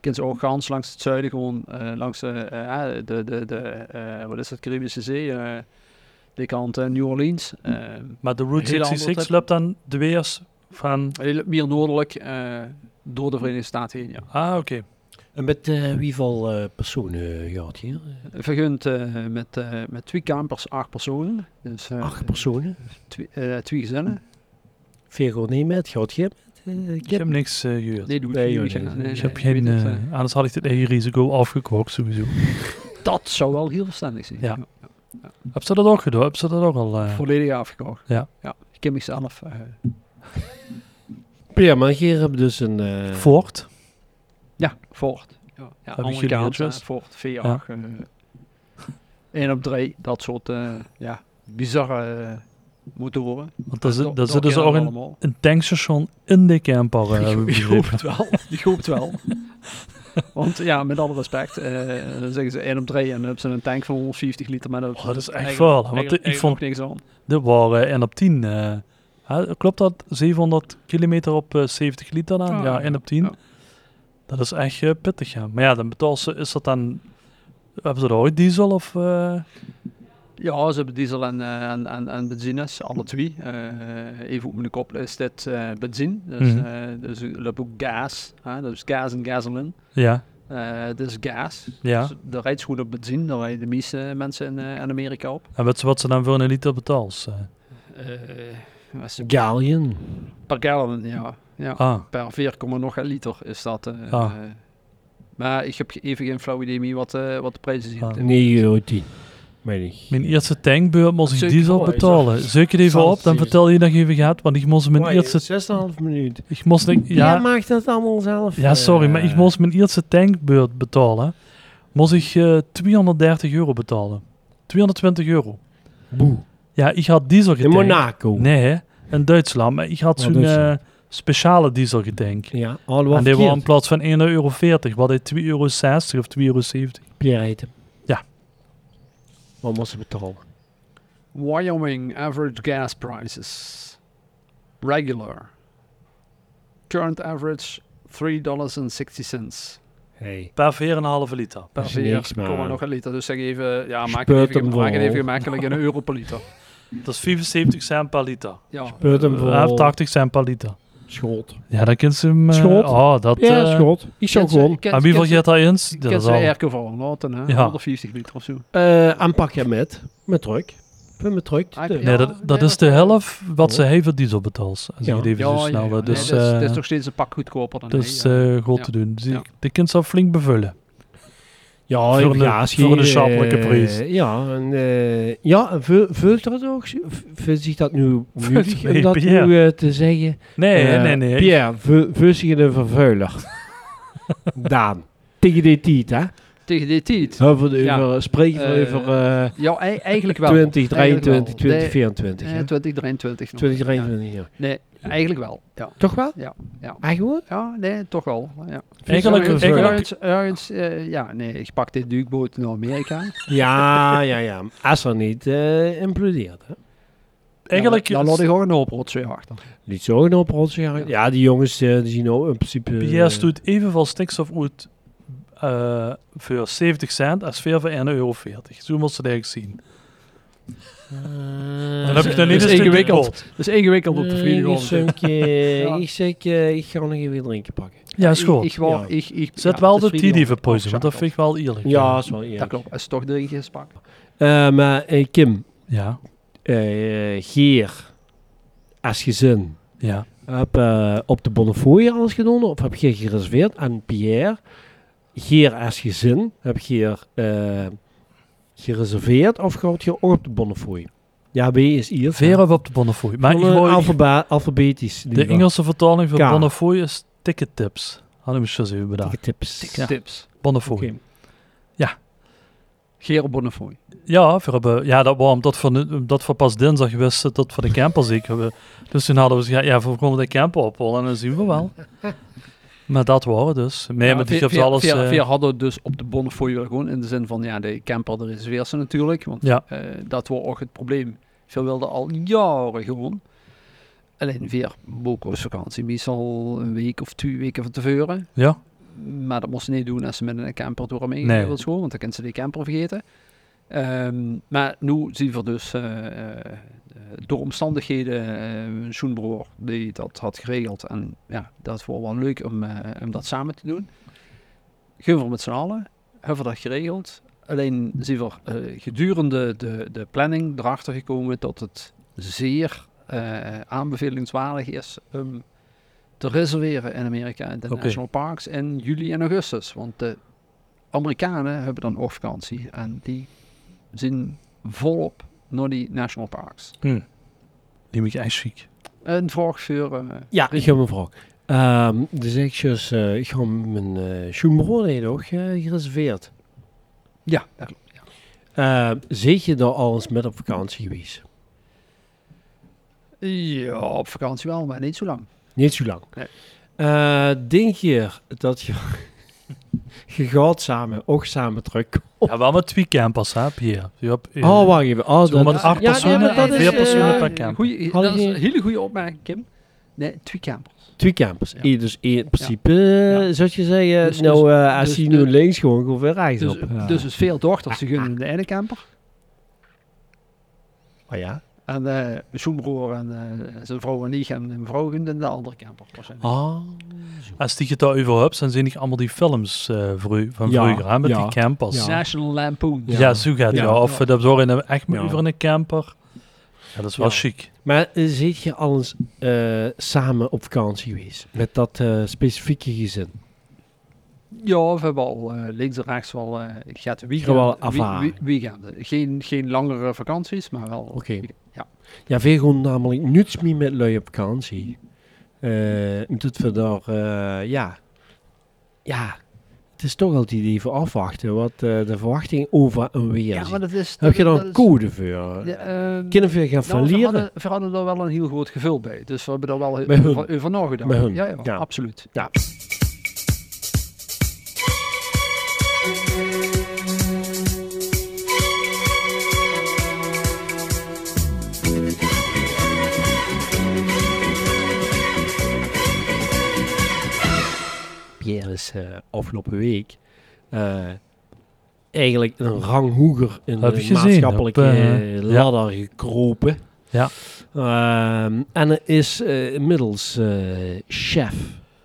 Kunnen ze ook gans langs het zuiden, gewoon eh, langs eh, eh, de, de, de eh, wat is dat, Caribische Zee, eh, die kant eh, New Orleans. ehm,
maar de Route
Hele andere
66
trip.
loopt dan de weers van...
heel- meer noordelijk eh, door de Verenigde Staten heen, ja.
Ah, oké.
En met eh, wieveel eh, personen eh, gaat hier?
Vergund eh, met, eh, met twee kampers, acht personen. Dus eh,
Acht personen.
twee, eh, twee gezinnen.
Veer gewoon niet met. Gaat Kim met? eh,
Ik heb
Kim?
niks eh, gehuurd.
Nee, doe
Nee,
nee,
joh,
nee,
nee.
nee,
ik Dus heb
nee,
geen...
weet het, eh.
eh, anders had ik dit eigen risico afgekookt, sowieso.
Dat zou wel heel verstandig zijn.
Ja. heb ze dat ook gedaan? Heb ze dat ook al... eh,
Volledig afgekocht.
Ja.
ja. Ik ken mezelf. eh,
Ja, maar hier hebben we dus een... eh,
Voort?
ja, Ford. Ja, ja
jullie
Amerikaans. eh,
adres?
Ford V8. eh één op drie. Dat soort eh, ja, bizarre eh, motoren.
Want er zit-
Dat-
er
dat
zit dus
kennen
ook
we
een,
allemaal.
een tankstation in de camper. eh, heb ik
Ik
begrepen.
hoop het wel. Ik hoop het wel. Want ja, met alle respect, eh, dan zeggen ze 1 op 3 en dan hebben ze een tank van 150 liter. Maar
Oh, dat is echt
eigenlijk-
veel, want
eigenlijk-
ik vond-
eigenlijk ook niks aan.
Dit waren en op 10. eh, hè, klopt dat? 700 kilometer op eh, 70 liter dan?
Ah,
ja, en op 10.
ja.
Dat is echt eh, pittig, ja. Maar ja, dan betaal ze, is dat dan... Hebben ze er ooit diesel of... eh,
Ja, ze hebben diesel en, eh, en, en, en benzines, alle twee. Eh, even op mijn kop is dit eh, benzine. Dus,
Mhm.
eh dus we hebben ook gas. hè, dus gas en gasoline.
ja,
Eh dus gas.
ja.
Dus daar rijdt ze goed op benzine. Daar rijden de meeste mensen in, eh, in Amerika op.
En weet ze wat ze dan voor een liter betaalt? eh?
Eh, wat is het?
Galleon.
per gallon, ja. ja.
ah,
per 4, komma nog een liter is dat. eh,
Ah.
eh. maar ik heb ge- even geen flauw idee meer wat, eh, wat de prijs is. hier.
Ah.
9 euro 10. Meen ik.
mijn eerste tankbeurt moest ik
Zeker.
diesel
Oh, is
betalen.
dat-
Zoek het even
zal
op, dan
zien.
vertel je dat je even gaat. Want ik moest mijn
Wai,
eerste...
6,5 minuut.
Ik moest... niet-
Ja,
Ja,
maakt dat allemaal zelf.
ja, sorry, maar ik
eh,
moest mijn eerste tankbeurt betalen. Moest ik eh, 230 euro betalen. 220 euro.
Boe.
Ja, ik had diesel
In
getankt.
Monaco.
Nee, hè? in Duitsland. Maar ik had
Oh,
zo'n eh,
Duitsland.
speciale diesel getankt.
Ja, al wat
en die was in
verkeerd.
plaats van 1,40 euro, wat hij 2,60 euro of 2,70 euro.
Pierre heet hem.
Ja.
Wat moest ze betalen?
Wyoming average gas prices. Regular. Current average $3.60.
Hey.
Per 4,5 liter.
Per
is
veer,
niks, maar-
komma nog een liter. Dus zeg even, ja, maak het
Speurt
even,
hem
maak het
vol.
even gemakkelijk in een euro per liter.
Dat is 75 cent per liter.
Ja,
Speurt hem
Ja, of
voor
80 cent per liter.
schot.
Ja, dan kunt ze hem... eh,
Schot?
Oh, dat...
Ja,
eh,
schot. Ik zou gewoon
aan wie gaat dat eens? Dat
Kent
is
ze
al...
airco van laten, hè?
Ja.
150 liter of zo.
eh aanpakken met. Met truck. Met mijn truck.
Ah,
De-
ja.
Nee, dat, dat
nee, eh,
is de helft wat ze
Oh.
heeft voor diesel betaalt. Als
Ja.
je het even zo snel... eh,
nee,
dus
dat, is, dat is
eh,
nog steeds een pak goedkoper dan
dat
hij,
is
ja.
eh, goed
Ja.
te doen. Dus
Ja.
ik- De kind zal flink bevullen.
Ja,
Voor
in
de-
Vlaas
voor
hier,
de schappelijke
eh,
prijs.
Ja, en, eh, ja, en vul- vult dat ook? Vult zich dat nu
Vult
nuttig
mee,
om dat
Pierre.
nu eh, te zeggen?
Nee,
Eh,
nee, nee.
Pierre, vul, vul zich in een vervuiler. Daan. Tegen dit tiet, hè?
eh,
Tegen dit tijd.
Over,
Ja.
over, spreken we
Eh,
over eh
Ja, ei- eigenlijk wel.
20,
Eigenlijk wel.
23, 20,
Nee,
24.
eh,
hè?
20, 23. nog.
20,
Ja.
23. ja.
Nee, eigenlijk wel. Ja,
Toch wel?
Ja, ja.
Eigenlijk?
ja nee, toch wel. Ja.
Eigenlijk-
Ergens-
eigenlijk-
ergens- ergens, eh, ja, nee, ik pak dit duikboot naar Amerika.
Ja, ja, ja. Als er niet eh implodeert. Hè?
Eigenlijk...
Dan laat ik ook een oprotsen achter.
Niet zo een oprotsen. Ja. ja, die jongens eh, die zien ook in principe...
Pierre
eh,
stoot evenveel stikstof uit eh, voor 70 cent als veel voor 1,40 euro. Zo moet ze het eigenlijk zien.
eh,
Dan heb je dan niet
is
een stukje
ingewikkeld.
brood.
Dat is ingewikkeld op de
Ik
vrienden.
zeg, eh,
Ja.
ik, zeg eh, ik ga nog even drinken pakken.
Ja, is goed.
Ik, wou-
Ja.
ik, ik,
Zet
ja,
wel
het
de
is
TD
vrienden.
voor poison, want dat vind ik wel eerlijk.
Ja, is wel
Dat
eerlijk.
klopt, als toch drie keer pak.
Eh, maar eh, Kim,
Ja,
eh eh, Geer, als gezin,
ja.
heb eh, op de Bonnefoy alles genomen of heb je gereserveerd aan Pierre? Geer als gezin, heb je eh gereserveerd of gaat je ook op de Bonnefoy? Ja, B is Iers.
Veren we op de Bonnefoy. Maar ik
Gewoon, eh,
wou-
alfaba- alfabetisch.
de Engelse vertaling van
K.
Bonnefoy is ticket tips. Had ik me zo even bedacht.
tips. Ja.
Tips.
Bonnefoy.
Oké.
Gero Bonnefoy.
Ja, we hebben, ja dat, waarom, dat, van, dat we pas dinsdag wisten dat we de camper ziek hebben. Dus toen hadden we gezegd, ja, we komen de camper opholen en dan zien we wel. Maar dat waren dus. Nee, maar die heeft alles...
Via,
eh,
hadden dus op de Bonnefoy wel gewoon in de zin van, ja, de camper, de reserveersen natuurlijk. Want
Ja.
eh, dat was ook het probleem. Veel wilden al jaren gewoon. Alleen weer Boko's vakantie, meestal een week of twee weken van tevoren.
ja,
Maar dat moest ze niet doen als ze met een camper door hem heen
Nee.
wil school, want dan kan ze die camper vergeten. Ehm, maar nu zien we dus eh, eh, door omstandigheden eh, een Schoenbroer die dat had geregeld. En ja, dat was wel leuk om, eh, om dat samen te doen. Gaan we met z'n allen, hebben we dat geregeld. Alleen zien we eh, gedurende de, de planning erachter gekomen dat het zeer eh, aanbevelingswaardig is om te reserveren in Amerika, in de
Oké.
national parks, in juli en augustus. Want de Amerikanen hebben dan ook vakantie en die zien volop naar die national parks.
die moet ik echt ziek.
En vorig voor... eh,
Ja, ik heb een vraag. Ehm, dus ik, dus, eh, ik heb mijn uh, schoenbroer heeft ook eh, gereserveerd.
ja, dat klopt. Ja.
Eh zeg je daar al eens met op vakantie geweest?
ja, op vakantie wel, maar niet zo lang.
Niet zo lang.
Nee.
Eh, denk je dat je, je gaat samen, ook samen terugkomen?
Ja, wel met twee campers, hè, Pierre. Je hebt, eh,
Oh, wacht even. Oh,
Zo
dat,
met acht
ja,
personen,
nee, maar dat is,
vier
eh,
personen per camper.
Goeie,
Had
dat
ik
is
niet-
een hele goede opmerking, Kim. Nee, twee campers.
Twee campers.
Ja.
Eén Dus één, in principe, eh, zou je zeggen,
Dus-
nou, eh, als
dus
hij
de-
nu links gewoon, gewoon weer rechts
Dus,
op. Ja.
dus is veel dochters, ze gunnen de ene camper.
oh ja.
En eh, mijn schoenbroer en eh, zijn vrouw en ik en mijn vrouw gunnen de andere camper. waarschijnlijk.
Ah.
Als die het over hebt, dan zie ik allemaal die films eh, vro- van
Ja,
vroeger, hè, met
ja,
die campers.
ja.
Ja,
National Lampoon.
Ja.
zo gaat het.
Ja.
Ja. Of eh, dat zorgen we echt met
Ja.
over een camper. Ja, dat is wel
Ja.
chic.
Maar eh, zit je al eens eh, samen op vakantie geweest? Met dat eh, specifieke gezin?
Ja, we hebben al eh, links en rechts wel eh gaat
Gewoon
weekend, wie,
ervaring.
wie, weekenden. Geen, geen langere vakanties, maar wel.
Oké.
Ja.
Ja, veel gewoon namelijk niets meer met lui op vakantie. Eh omdat we daar, eh, ja... Ja, het is toch altijd even afwachten wat eh, de verwachting over en weer
Ja,
is.
maar dat is.
Heb je
dat-
dan
dat is-
code voor?
Ja, ehm,
Kunnen we gaan
nou,
van
we,
leren?
hadden, we hadden er wel een heel groot gevoel bij. Dus we hebben er wel
Bij hun.
over, over nagedacht.
Bij hun,
Ja, ja,
ja.
absoluut.
Pierre is eh, afgelopen week eh, eigenlijk een rang hoger in
Heb
de
ik gezien,
maatschappelijke
op, eh,
eh,
ja.
ladder gekropen.
Ja.
Ehm, en hij is eh, inmiddels eh, chef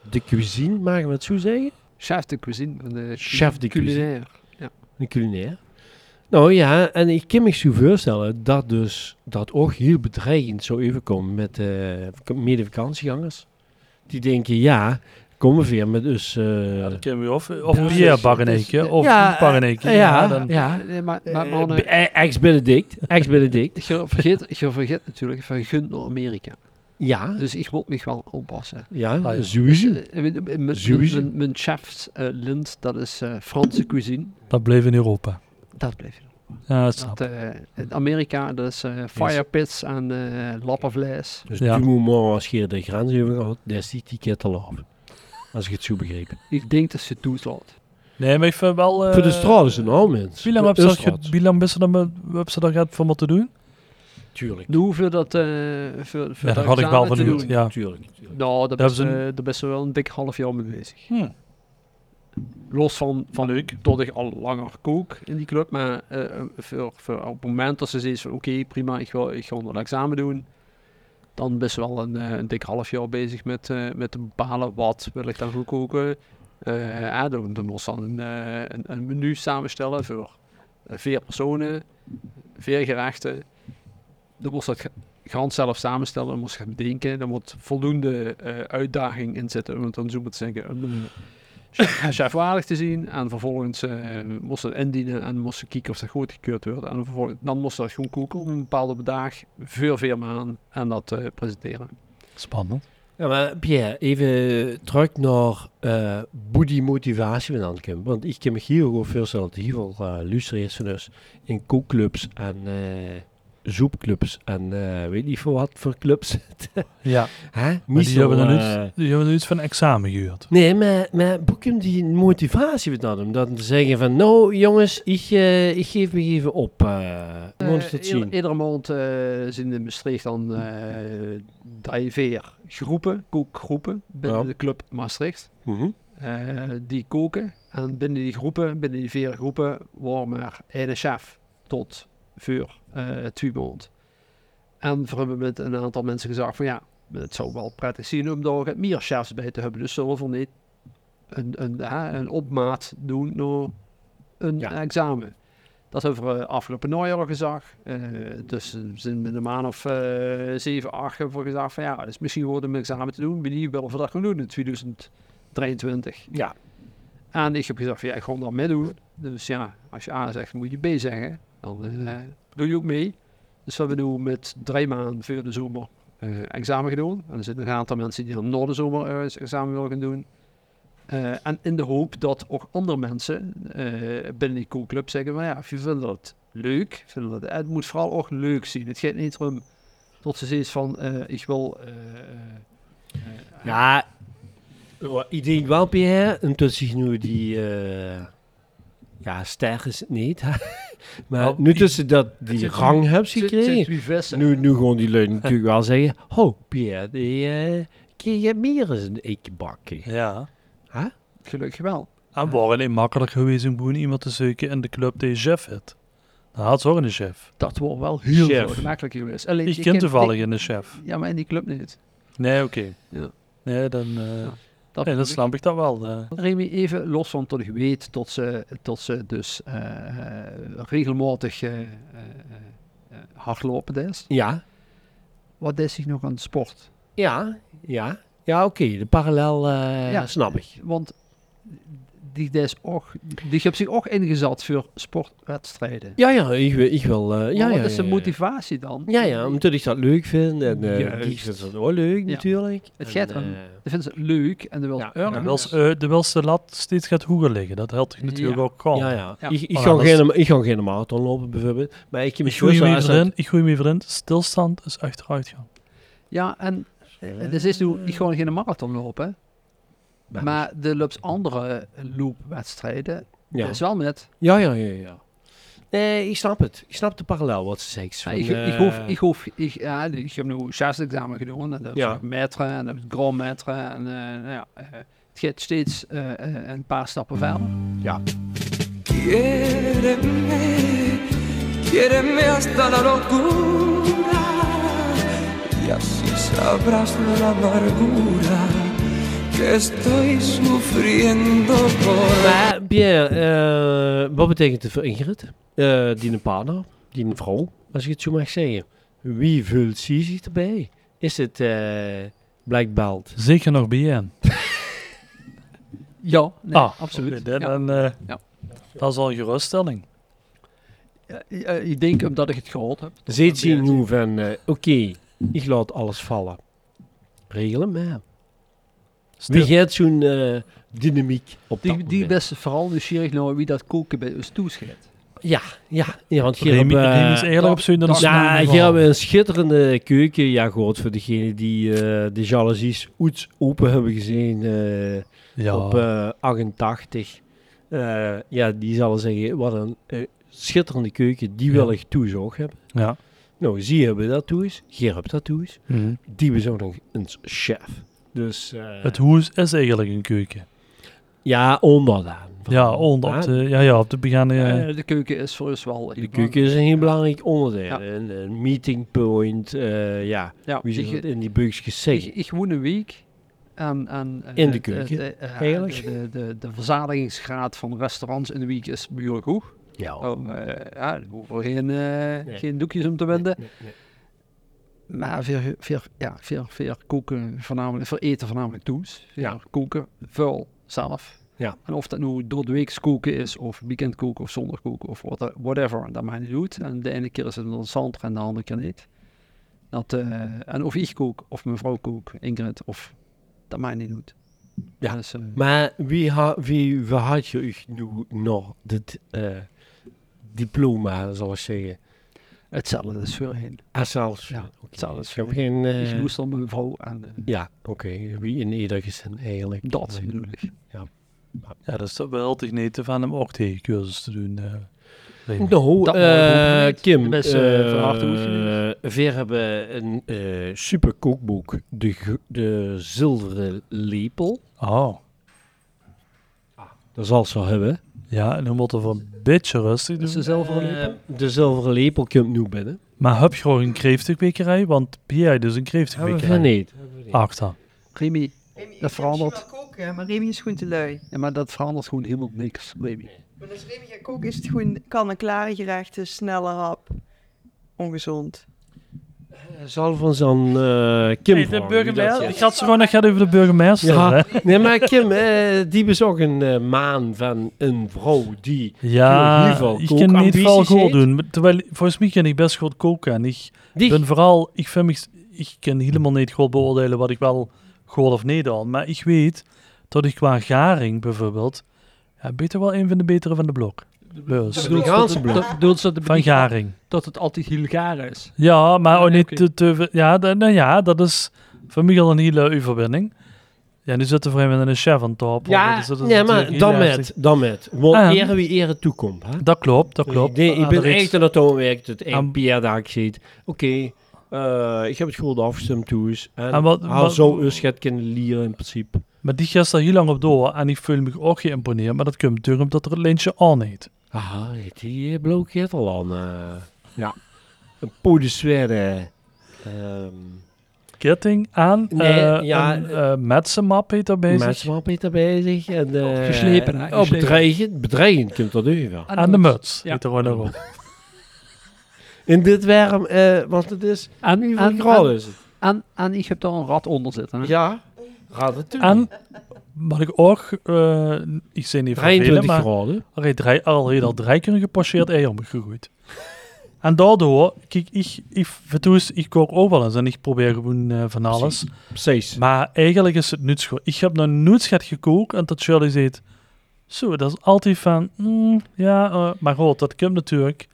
de cuisine, mogen we het zo zeggen?
Chef de cuisine. van de
Chef de cuisine.
culinaire.
Een culinair. Nou ja, en ik kan me zo voorstellen dat dus dat ook heel bedreigend zou overkomen met eh mede-vakantiegangers. Die denken, ja, komen we weer met dus... eh,
Ja, dat kunnen we of, of
Ja,
Pierre
dus-
Barreneke,
dus-
of
ja,
ja, Barreneke.
eh, ja,
dan-
ja.
Nee, maar, maar mannen,
Eh, Ex-Benedict. Ex-Benedict.
je, vergeet, je vergeet natuurlijk van gun naar Amerika.
Ja.
Dus ik moet me wel oppassen.
Ah,
Ah, Ja, Dus
ja.
sowieso.
Eh, mijn- mijn-
Sowieso.
Mijn mijn chef's eh, lint, dat is eh, Franse cuisine.
Dat bleef in Europa.
Dat blijf je
Ja, dat snap
Dat, eh, in Amerika, dat is eh, fire pits en eh lappen vlees.
Dus
Ja.
du moment als je de grens over gaat, dan is die ticket al af. Als ik het zo begreep.
Ik denk dat ze toeslaat.
Nee, maar ik vind wel... eh,
Voor de straat is een al mens.
Wie lang
Voor
hebben
de
ze dat
straat.
ge- wie lang hebben ze dat met- hebben ze daar gehad voor moeten doen?
Tuurlijk.
De hoeveel dat... eh voor, voor
Ja,
dat
daar had ik wel
examen te
benieuwd.
doen.
Ja.
Tuurlijk. tuurlijk.
Nou, daar
Dat
ben,
is
ze,
een-
daar ben ze wel een dik half jaar mee bezig.
Hm.
Los van, van Leuk. dat ik al langer kook in die club. Maar eh, voor, voor op het moment dat ze zegt van oké, prima, ik ga, ik ga dat examen doen. Dan ben ze wel een, eh, een dik half jaar bezig met, eh, met te bepalen wat wil ik dan gaan koken. Eh, eh, dan, dan los dan een, eh, een, een menu samenstellen voor eh, vier personen, vier gerechten. Dan moest dat gaan zelf samenstellen, dan moest gaan bedenken. Daar moet voldoende eh, uitdaging in zitten, want dan zo moet zeggen, een eh, chef waardig te zien. En vervolgens eh, moest dat indienen en moest ze kijken of dat goedgekeurd wordt. En vervolgens, dan moest dat gewoon koeken op een bepaalde bedaag, veel, veel maanden en dat eh, presenteren.
Spannend.
Ja, maar Pierre, even terug naar eh boedie motivatie van Ankem. Want ik kan me hier gewoon voorstellen dat hier wel eh luister is van dus in koekclubs en eh, zoepclubs en eh, weet niet voor wat voor clubs zitten.
Ja,
Hè? eh,
maar die hebben, er
dan
niet, die hebben er niet van examen gehuurd.
Nee, maar, maar boek hem die motivatie met dat om dan te zeggen van nou jongens, ik, eh, ik geef me even op. eh moet ik dat
Eh, ieder-
zien?
Iedere maand eh, zijn in Maastricht dan eh diverse groepen, kookgroepen binnen
Ja.
de club Maastricht.
Mhm.
eh, die koken. En binnen die groepen, binnen die vier groepen, waren maar één chef tot voor eh twee maanden. En voor een moment een aantal mensen gezegd van ja, het zou wel prettig zijn om daar wat meer chefs bij te hebben. Dus zullen we niet een, een, hè, een opmaat doen naar een
Ja.
examen. Dat hebben we eh, afgelopen najaar gezag. Eh, dus we zijn met een maand of eh, zeven, acht hebben we gezegd van ja, het is misschien wordt een examen te doen. Wie willen we dat gaan doen in 2023?
Ja.
En ik heb gezegd van ja, ik ga dat meedoen. Dus ja, als je A zegt, moet je B zeggen. Dan eh, doe je ook mee. Dus wat we doen met drie maanden voor de zomer eh, examen gedaan. En er zitten een aantal mensen die dan na de zomer eh, examen willen gaan doen. Eh, en in de hoop dat ook andere mensen eh, binnen die koelclub zeggen: van ja, je vindt dat leuk. Vindt dat, het moet vooral ook leuk zien. Het gaat niet om tot ze zoiets van: eh, ik wil. eh, eh,
Ja, wa- ik denk wel, Pierre, en tot zich nu die... eh, ja, sterk is het niet. hè. maar
Nou,
nu
ik-
tussen dat die
Oh, zit-
rang hebt
zit- zit Eh.
gekregen...
wie vissen.
Nu, nu gewoon die leun natuurlijk wel zeggen... Ho, Pierre, die, eh kun je meer eens een eikje bakken?
Ja.
Gelukkig wel.
En Ah, waren het makkelijk geweest om gewoon iemand te zoeken in de club die chef had. Dan had ze ook een chef.
Dat wordt wel heel
Chef.
veel gemakkelijker geweest. Alleen,
Ik
je
ken
kent-
toevallig een chef.
Ja, maar in die club niet.
Nee, oké.
Ja.
Nee, dan, eh,
Dat
nee, dan snap ik dat wel. eh.
Remy, even los van tot ik weet tot ze, tot ze dus eh, eh, regelmatig eh, eh, eh, hardlopen is.
Ja,
Wat is zich nog aan de sport?
ja, ja. Ja, oké, de parallel eh,
Ja.
snap ik.
Want die, des ook, die heeft zich ook ingezet voor sportwedstrijden.
Ja, ja, ik, wil- ik wil... eh, ja, ja,
Maar wat Oh, is de
ja, ja.
motivatie dan?
Ja, ja, omdat ik dat leuk vind. En eh
Juist.
die vindt dat ook leuk,
Ja.
natuurlijk.
Het
En,
gaat
eh,
om- Dan vinden ze het leuk en dan wil ze
Ja,
earnen.
Dan wil ze, eh, dan wil ze de lat steeds gaat hoger liggen. Dat helpt natuurlijk
Ja.
ook gewoon.
Ja, ja.
Ja.
Ik, ik,
Oh,
ga
dat is-
geen, ik ga geen marathon lopen bijvoorbeeld. Maar ik heb
Ik gooi me erin, ik gooi me even in. Stilstand is achteruit gaan.
Ja, en eh, dus is nu, ik gewoon geen marathon lopen.
Maar- dus-
Maar de loops andere eh, loopwedstrijden,
Ja.
dat is wel met.
ja, ja, ja, ja. Nee, ik snap het. Ik snap de parallel wat ze zegt.
Ja,
Van,
ik, ik,
eh,
hoef, ik, hoef, ik, ja, ik heb nu examen gedaan. En dat
Ja.
ja. metre en dat grand metre. En eh, nou ja, eh, het gaat steeds eh, eh, een paar stappen verder.
Quiéreme, quiéreme hasta la locura y así sabrás la amargura que estoy sufriendo por
Maar Pierre, eh, wat betekent het voor Ingrid? Eh die een partner, die een vrouw, als ik het zo mag zeggen. Wie vult ze zich erbij? Is het eh Black Belt?
Zeker nog BN.
Ja, nee,
Ah,
absoluut.
Oké, dan,
Ja.
dan, eh,
Ja.
Dat is al een geruststelling.
Eh, eh, ik denk omdat ik het gehoord heb.
Zit zien nu van, eh, oké, ik laat alles vallen. Regelen maar.
Stil-
Wie gaat zo'n eh, dynamiek op dat
Die, die
moment?
best vooral nieuwsgierig naar wie dat koken bij ons toeschiet.
Ja, ja, want hier
Remy,
hebben we-
Remy is eerlijk
dag-
op zoek naar een snoer
ja,
in de
hier
wal.
hebben we een schitterende keuken. Ja, goed, voor degene die eh, de jalousies oets open hebben gezien eh,
Ja.
op eh, 88. Eh, ja, die zullen zeggen, wat een eh, schitterende keuken. Die wil
Ja.
ik toezorg hebben.
ja.
Nou, zie hebben we dat toe eens. Geer heb dat toe eens.
Mhm.
Die was ook nog een chef. Dus eh,
Het hoes is eigenlijk een keuken.
ja, onderdaan.
Ja, onder op
Ah,
de, ja, ja, op de begane. eh,
Eh, de keuken is voor ons wel...
De keuken is een heel belangrijk onderdeel.
Ja.
Een, een meeting point, eh, ja.
Ja,
Wie
ik-
zou dat in die bugs
Ik,
gezegd?
ik woon een week aan, aan eh,
In de
het-
keuken,
het- eh,
eigenlijk.
De, de, de, de verzadigingsgraad van restaurants in de week is behoorlijk hoog.
Ja.
Oh, eh, ja, er hoeven geen, eh,
Nee.
geen doekjes om te wenden.
Nee, nee,
Maar veel, veel, ja, veel, veel koken, voornamelijk, veel eten voornamelijk toes. Ja.
Ja.
Koken, vuil zelf.
Ja.
En of dat nu door de week koken is, of weekend koken, of zondag koken, of what- whatever, dat maakt niet uit. En de ene keer is het interessanter en de andere keer niet. Dat, eh, en of ik kook, of mijn vrouw kook, Ingrid, of dat maakt niet uit.
Ja.
Dus, eh,
Maar wie, ha, wie, wie had je u nu nog dit eh, diploma, zal ik zeggen?
hetzelfde is voorheen.
Ah, zelfs.
Ja,
oké.
hetzelfde is
Ik heb geen... eh,
ik moest dan mijn vrouw en eh,
ja, oké. Wie in ieder gezin eigenlijk.
dat bedoel ik.
Ja, dat is toch wel te genieten van hem ook tegencursus te doen. eh. Remy.
Nou,
Dat
eh,
maar hoeft niet.
Kim,
Best, eh, van harte
eh,
moet je
we hebben een eh, super kookboek, de, Gro- de Zilveren Lepel.
Oh,
Dat zal ze hebben.
ja, en dan moeten we een beetje rustig doen.
Is ze zelf al
Eh, de Zilveren Lepel komt nu binnen.
Maar heb je gewoon een kreeftenkwekkerij? Want Pierre dus een
Hebben
kreeftenkwekkerij.
we niet.
Ach dan.
Remy,
Remy,
Dat verandert.
Ik wil misschien wel koken, maar Remy is gewoon te lui.
ja, maar dat verandert gewoon helemaal niks, Remy.
Maar als Remy gaat koken, is het gewoon kan-en-klare gerechten, snelle dus hap. Ongezond.
Zal Ah, van zo'n eh Kim
Hey, de
vragen wie dat
burgemeester.
zegt.
Ik had ze gewoon nog gaan over de burgemeester. hè?
Ja, nee, maar Kim, eh, die was ook een eh, maan van een vrouw die...
Ja,
Heel veel
ik kan niet
kookambities
veel goed
heeft.
doen. maar Terwijl, volgens mij kan ik best goed koken. En ik
die
ben vooral, ik vind mich- ik kan helemaal niet goed beoordelen wat ik wel goed of niet doe. Maar ik weet dat ik qua garing bijvoorbeeld, ja, beter wel een van de betere van de blok. Dus,
bedoel- Amerikaanse blok.
Doet ze
van garing.
dat het altijd hilgaar is.
Ja, maar ook
Nee,
niet
oké.
te, te ver- Ja, da- nou ja, dat is voor mij al een hele overwinning. Ja, nu zitten we met een chef aan tafel.
Ja,
dus dat is
nee,
natuurlijk
maar
heel
dan
heftig.
met, dan met. Want
Ah.
eren wie eren toekomt, hè?
Hm? Dat klopt, dat klopt.
Eh,
Ah,
Nee, ik ben
Aderix-
echt aan het toonwerk dat
Aan-
ik Pierre daar ook ziet. Oké, eh, ik heb het goed afgestemd, Toes. En,
En wat-
haal
wat-
zo een schet kunnen lieren in principe.
Maar die gast daar heel lang op door en ik voel me ook geïmponeerd. Maar dat komt natuurlijk omdat er het lintje aan heet.
Aha, heeft die eh, blauw ketel al aan. eh, ja. Een podeswerde. ehm,
Ketting aan,
Nee,
eh,
ja,
een eh, metsenmap heet daar bezig.
Menswap is er bezig. En, eh,
Geslepen, hè,
Oh,
geslepen.
bedreigend. Bedreigend komt dat nu wel.
En de muts
Ja.
heet er ook nog op.
In dit warm, eh want het is...
En,
Nu
en,
graden
en,
is het.
en, en ik heb daar een rat onder zitten. Hè?
Ja, gaat het toe.
En wat ik ook, eh, ik zei niet vervelen,
23
maar
graden.
er heet drie- al heet al drie keer een gepasseerd ei omgegooid. En daardoor, kijk, ik, ik, vertoes, ik kook ook wel eens en ik probeer gewoon eh, van alles.
Precies.
Maar eigenlijk is het nuts gewoon. Ik heb nog nooit gehad gekookt en dat Shirley zegt... Zo, dat is altijd van... mm, ja, eh, maar goed, dat komt natuurlijk.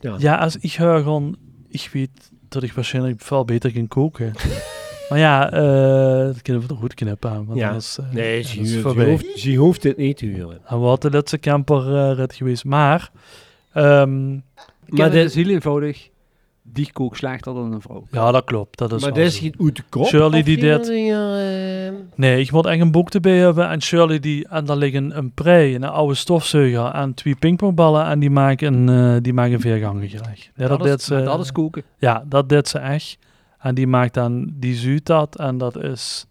Ja.
Ja, als ik ga gewoon... Ik weet dat ik waarschijnlijk veel beter kan koken. maar ja, eh, dat kunnen we toch goed knippen aan. Want
Ja.
anders, eh,
Nee,
ja,
ze,
dat is
huurt-
voorbij.
ze hoeft, ze hoeft het niet te huren.
En wat de laatste camper eh, red geweest. Maar... ehm,
Maar
Maar
dit
dit-
is dus heel eenvoudig. Die koek slaagt dan een vrouw.
ja, dat klopt. Dat is
maar
wel
dit is
zo.
geen uit de kop.
Shirley
of
die
geen
dit-
dingen, eh,
Nee, ik moet echt een boek erbij hebben. En Shirley die, en daar liggen een prei, een oude stofzuiger en twee pingpongballen. En die maken een, eh, die maken een veergangen gerecht. Ja, dat, deed
is,
ze,
dat eh, is koken.
Ja, dat deed ze echt. En die maakt dan, die zuurt dat. En dat is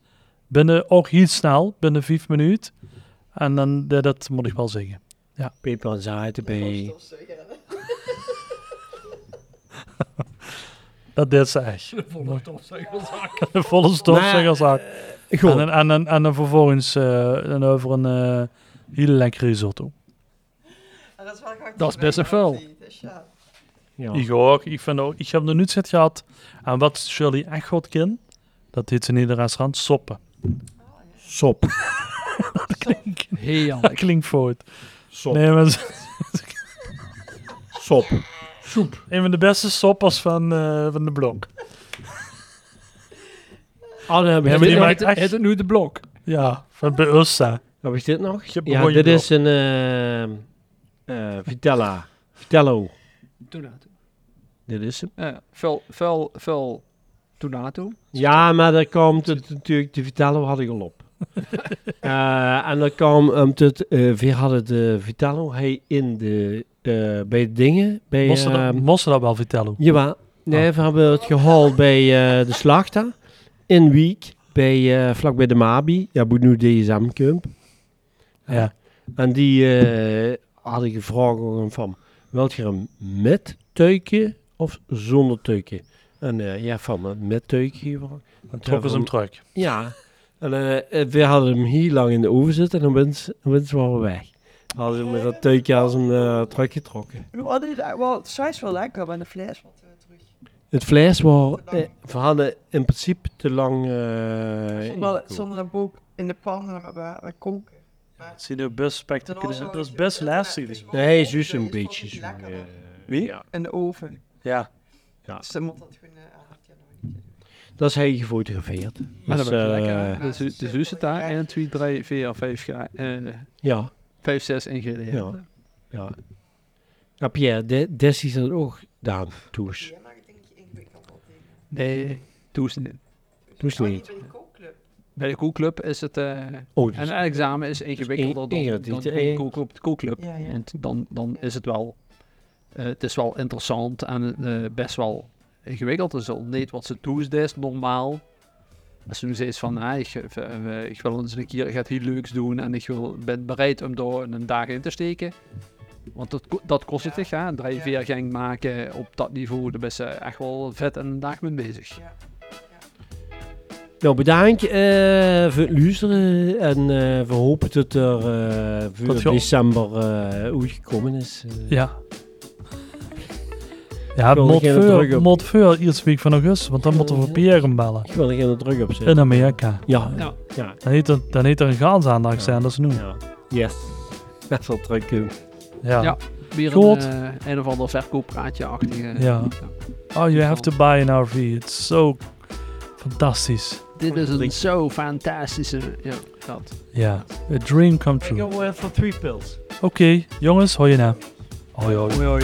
binnen, ook heel snel, binnen vijf minuten. En dan, dat, dat moet ik wel zeggen.
Peper en zaad erbij.
Dat deed ze echt. De volle stofzuigerzaak. De volle stofzuigerzaak.
eh,
En,
Goed.
dan- en, dan- en dan vervolgens eh, dan over een eh hele lekkere risotto.
En Ah, dat is wel gehakt
Dat is best
erbij,
nog wel.
dat niet, dus ja.
Ja.
Ik ook. Ik, vind ook, ik heb nog nooit zit gehad aan wat Shirley echt goed kan. Dat heet ze in ieder restaurant soppen.
Sop.
Heel
Dat
lekker.
klinkt fout.
Sop.
Nee, maar ze-
Sop.
een van de beste soppers van, eh, van de blok.
Oh, dan heb ik
Ja, maar
dit
die
nog.
maakt echt-
het nu de blok.
Ja, van bij Ursa.
Heb ik dit nog?
hebt een
Ja,
mooie
dit
blok.
is een ehm, eh, Vitella. Vitello.
Tonato.
Dit is hem.
Eh, Vel, vel, vel. Tonato.
Ja, maar daar komt het natuurlijk, de Vitello had ik al op. Eh, en dan kwam um, het, eh we hadden de Vitello hij in de, eh, bij de dingen, bij,
Moest ze dat-
ehm,
moest ze dat wel vertellen?
Jawel. Nee,
Ah.
we hebben het gehaald bij eh, de slachter. In Week. Bij, eh, vlak bij de Mabi. Ja, moet nu DSM Camp.
Ja.
En die eh had ik gevraagd aan hem van... Wilt je hem met tuikje of zonder tuikje? En eh, ja, van eh, met tuikje. gevraagd. En toen
Trokken ze hem
hebben
terug.
we hem- Ja. En eh, eh, we hadden hem hier lang in de oven zitten en winst, winst waren we weg. Hadden we hem met dat tuikje als een eh trek getrokken.
We hadden het eigenlijk eh, wel, het is wel lekker, maar de fles wat eh, terug.
Het vlees was, eh, we hadden in principe te lang... eh,
Zonder,
ingekocht.
zonder een boek in de pan en we- we koken.
Het ziet er best spectaculair Dat is best lastig.
Nee, zus een beetje zo. eh,
Wie?
ja.
In de oven.
Ja.
Dus dan moet dat gewoon... eh, ah, ja, nou niet.
Dat is hij gefotografeerd.
Maar
Dus,
dat was
eh,
lekker. hè? Dus, dus hoe zit daar 1, 2, 3, 4, 5, eh
Ja,
5 6 ingrediënten.
Ja. ja. Nou Pierre, de, Desi is dat ook gedaan, Toes.
Nee, doe ze niet.
Toes niet.
Bij de koelclub is het... eh,
Oh, dus-
En een examen is ingewikkelder dan, dan,
ingrediënten,
gewoon
eh.
koek op de koekclub.
Ja, ja.
En t- dan, dan is het wel, eh, het is wel interessant en eh, best wel ingewikkeld. Het is al niet wat ze toesdest normaal. Als ze nu zegt van, ah, ik, eh, eh, ik wil eens een keer gaat iets leuks doen en ik wil, ben bereid om daar een dag in te steken. Want dat, ko- dat kost het echt, hè. Drie,
Ja.
vier gang maken op dat niveau, daar ben je echt wel vet en een dag mee bezig.
Nou, bedankt eh, voor het luisteren. En eh, we hopen dat er eh, voor
Tot zo.
december eh uitgekomen is. Eh,
Ja. Ja,
wil er geen druk
Motveur,
op.
Motveur, eerste week van augustus, want dan moeten we Pierre hem bellen.
Ik wil er geen druk op zetten.
In Amerika.
Ja,
Ja.
ja. ja.
Dan heet er, dan heet er een gaansaandacht zijn, dat is nu.
Yes. Best wel druk doen.
Ja.
Ja. Weer een,
Goed.
eh, een of ander verkooppraatje-achtige...
Ja. Oh, you have to buy an RV. It's so fantastisch.
Dit is een zo fantastische. Ja, dat.
Ja, a dream come true.
for three pills.
Oké, jongens, hoi je na. Hoi hoi.
Hoi hoi.